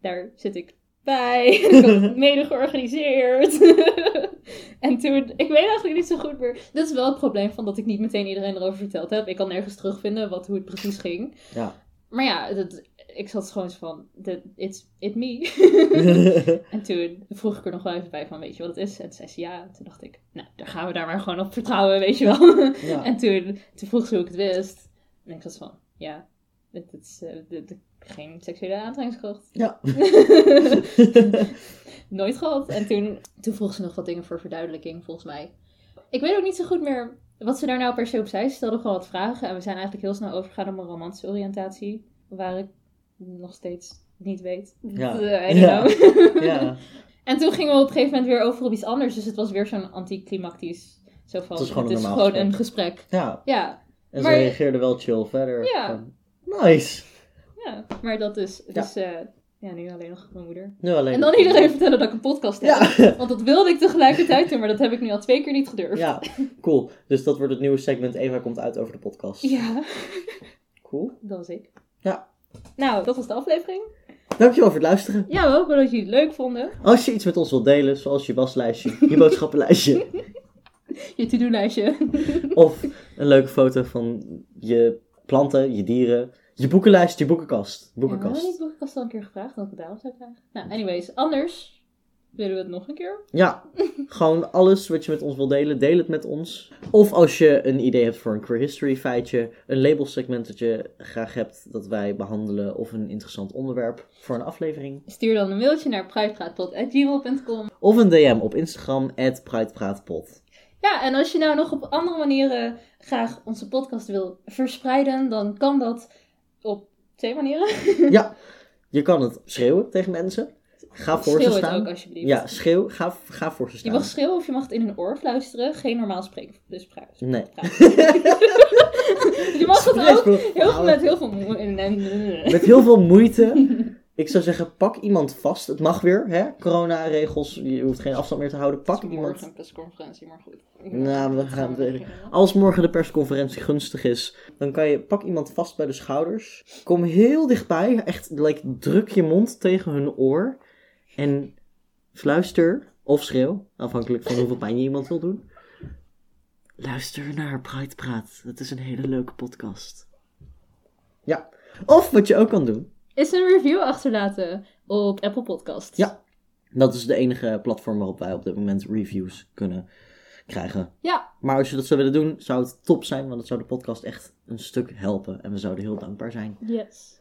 [SPEAKER 2] daar zit ik bij. ik had het mede georganiseerd. en toen, ik weet eigenlijk niet zo goed meer. Dit is wel het probleem van dat ik niet meteen iedereen erover verteld heb. Ik kan nergens terugvinden wat, hoe het precies ging.
[SPEAKER 1] Ja.
[SPEAKER 2] Maar ja, dat, ik zat gewoon zo van, dit- it's it me. En toen vroeg ik er nog wel even bij van, weet je wat het is? En toen zei ze ja. En toen dacht ik, nou, daar gaan we daar maar gewoon op vertrouwen, weet je wel.
[SPEAKER 1] Ja.
[SPEAKER 2] En toen, toen vroeg ze hoe ik het wist. En ik was van, ja, dit dit is eh, dit- dit- geen seksuele aantrekkingskracht.
[SPEAKER 1] ja.
[SPEAKER 2] Nooit gehad. En toen, toen vroeg ze nog wat dingen voor verduidelijking, volgens mij. Ik weet ook niet zo goed meer wat ze daar nou per se op zei. Ze stelde gewoon wat vragen. En we zijn eigenlijk heel snel overgegaan op een romantische oriëntatie. Waar ik nog steeds niet weet.
[SPEAKER 1] Ja.
[SPEAKER 2] Eh, I don't know.
[SPEAKER 1] ja.
[SPEAKER 2] En toen gingen we op een gegeven moment weer over op iets anders. Dus het was weer zo'n anticlimactisch. Zo van,
[SPEAKER 1] Het is gewoon
[SPEAKER 2] het
[SPEAKER 1] een
[SPEAKER 2] is
[SPEAKER 1] normaal
[SPEAKER 2] gewoon
[SPEAKER 1] gesprek.
[SPEAKER 2] een gesprek.
[SPEAKER 1] Ja.
[SPEAKER 2] Ja,
[SPEAKER 1] En
[SPEAKER 2] Maar-
[SPEAKER 1] ze reageerde wel chill verder.
[SPEAKER 2] Ja.
[SPEAKER 1] Van, Nice.
[SPEAKER 2] ja. Maar dat is, dus ja. ja, nu alleen nog mijn moeder.
[SPEAKER 1] Nu alleen.
[SPEAKER 2] En dan iedereen vertellen dat ik een podcast heb.
[SPEAKER 1] Ja.
[SPEAKER 2] Want dat wilde ik tegelijkertijd doen, maar dat heb ik nu al twee keer niet gedurfd.
[SPEAKER 1] Ja, cool. Dus dat wordt het nieuwe segment. Eva komt uit over de podcast.
[SPEAKER 2] Ja,
[SPEAKER 1] Cool.
[SPEAKER 2] dat was ik.
[SPEAKER 1] Ja.
[SPEAKER 2] Nou, dat was de aflevering.
[SPEAKER 1] Dankjewel voor het luisteren.
[SPEAKER 2] Ja, we hopen dat jullie het leuk vonden.
[SPEAKER 1] Als je iets met ons wilt delen, zoals je waslijstje, je boodschappenlijstje,
[SPEAKER 2] Je to-do-lijstje.
[SPEAKER 1] of een leuke foto van je planten, je dieren, je boekenlijst, je boekenkast.
[SPEAKER 2] Ja, maar die
[SPEAKER 1] Boekenkast.
[SPEAKER 2] boekenkast al een keer gevraagd, dat ik het daarom zou vragen. Nou, anyways, anders willen we het nog een keer.
[SPEAKER 1] Ja, gewoon alles wat je met ons wilt delen, deel het met ons. Of als je een idee hebt voor een queer history feitje, een labelsegment dat je graag hebt dat wij behandelen, of een interessant onderwerp voor een aflevering.
[SPEAKER 2] Stuur dan een mailtje naar pridepraatpot.gmail.com
[SPEAKER 1] Of een DM op Instagram, at pridepraatpot.
[SPEAKER 2] Ja, en als je nou nog op andere manieren graag onze podcast wil verspreiden, dan kan dat op twee manieren.
[SPEAKER 1] Ja, je kan het schreeuwen tegen mensen. Ga voor
[SPEAKER 2] Schreeuw
[SPEAKER 1] ze
[SPEAKER 2] het
[SPEAKER 1] staan.
[SPEAKER 2] ook alsjeblieft.
[SPEAKER 1] ja, schreeuw, ga, ga voor ze
[SPEAKER 2] Je
[SPEAKER 1] staan.
[SPEAKER 2] mag schreeuwen of je mag het in een oor fluisteren. Geen normaal spreken. Dus praat.
[SPEAKER 1] Nee.
[SPEAKER 2] Je mag het ook
[SPEAKER 1] Spreekboek
[SPEAKER 2] heel veel,
[SPEAKER 1] verhouden.
[SPEAKER 2] met heel veel moe- en- en- en-
[SPEAKER 1] Met heel veel moeite. Ik zou zeggen, pak iemand vast. Het mag weer, hè? Corona-regels. Je hoeft geen afstand meer te houden. Pak iemand.
[SPEAKER 2] Morgen een persconferentie, maar goed.
[SPEAKER 1] Nou, we gaan
[SPEAKER 2] we
[SPEAKER 1] weer.
[SPEAKER 2] beginnen.
[SPEAKER 1] Als morgen de persconferentie gunstig is, dan kan je pak iemand vast bij de schouders. Kom heel dichtbij, echt like, druk je mond tegen hun oor en fluister of schreeuw, afhankelijk van hoeveel pijn je iemand wil doen. Luister naar Pride Praat. Dat is een hele leuke podcast. Ja. Of wat je ook kan doen,
[SPEAKER 2] is een review achterlaten op Apple Podcasts.
[SPEAKER 1] Ja. Dat is de enige platform waarop wij op dit moment reviews kunnen krijgen.
[SPEAKER 2] Ja,
[SPEAKER 1] Maar als je dat zou willen doen, zou het top zijn, want het zou de podcast echt een stuk helpen. En we zouden heel dankbaar zijn.
[SPEAKER 2] yes.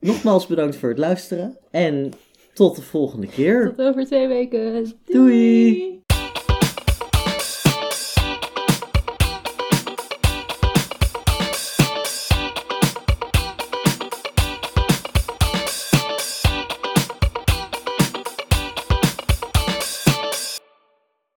[SPEAKER 1] Nogmaals bedankt voor het luisteren en tot de volgende keer.
[SPEAKER 2] Tot over twee weken.
[SPEAKER 1] Doei.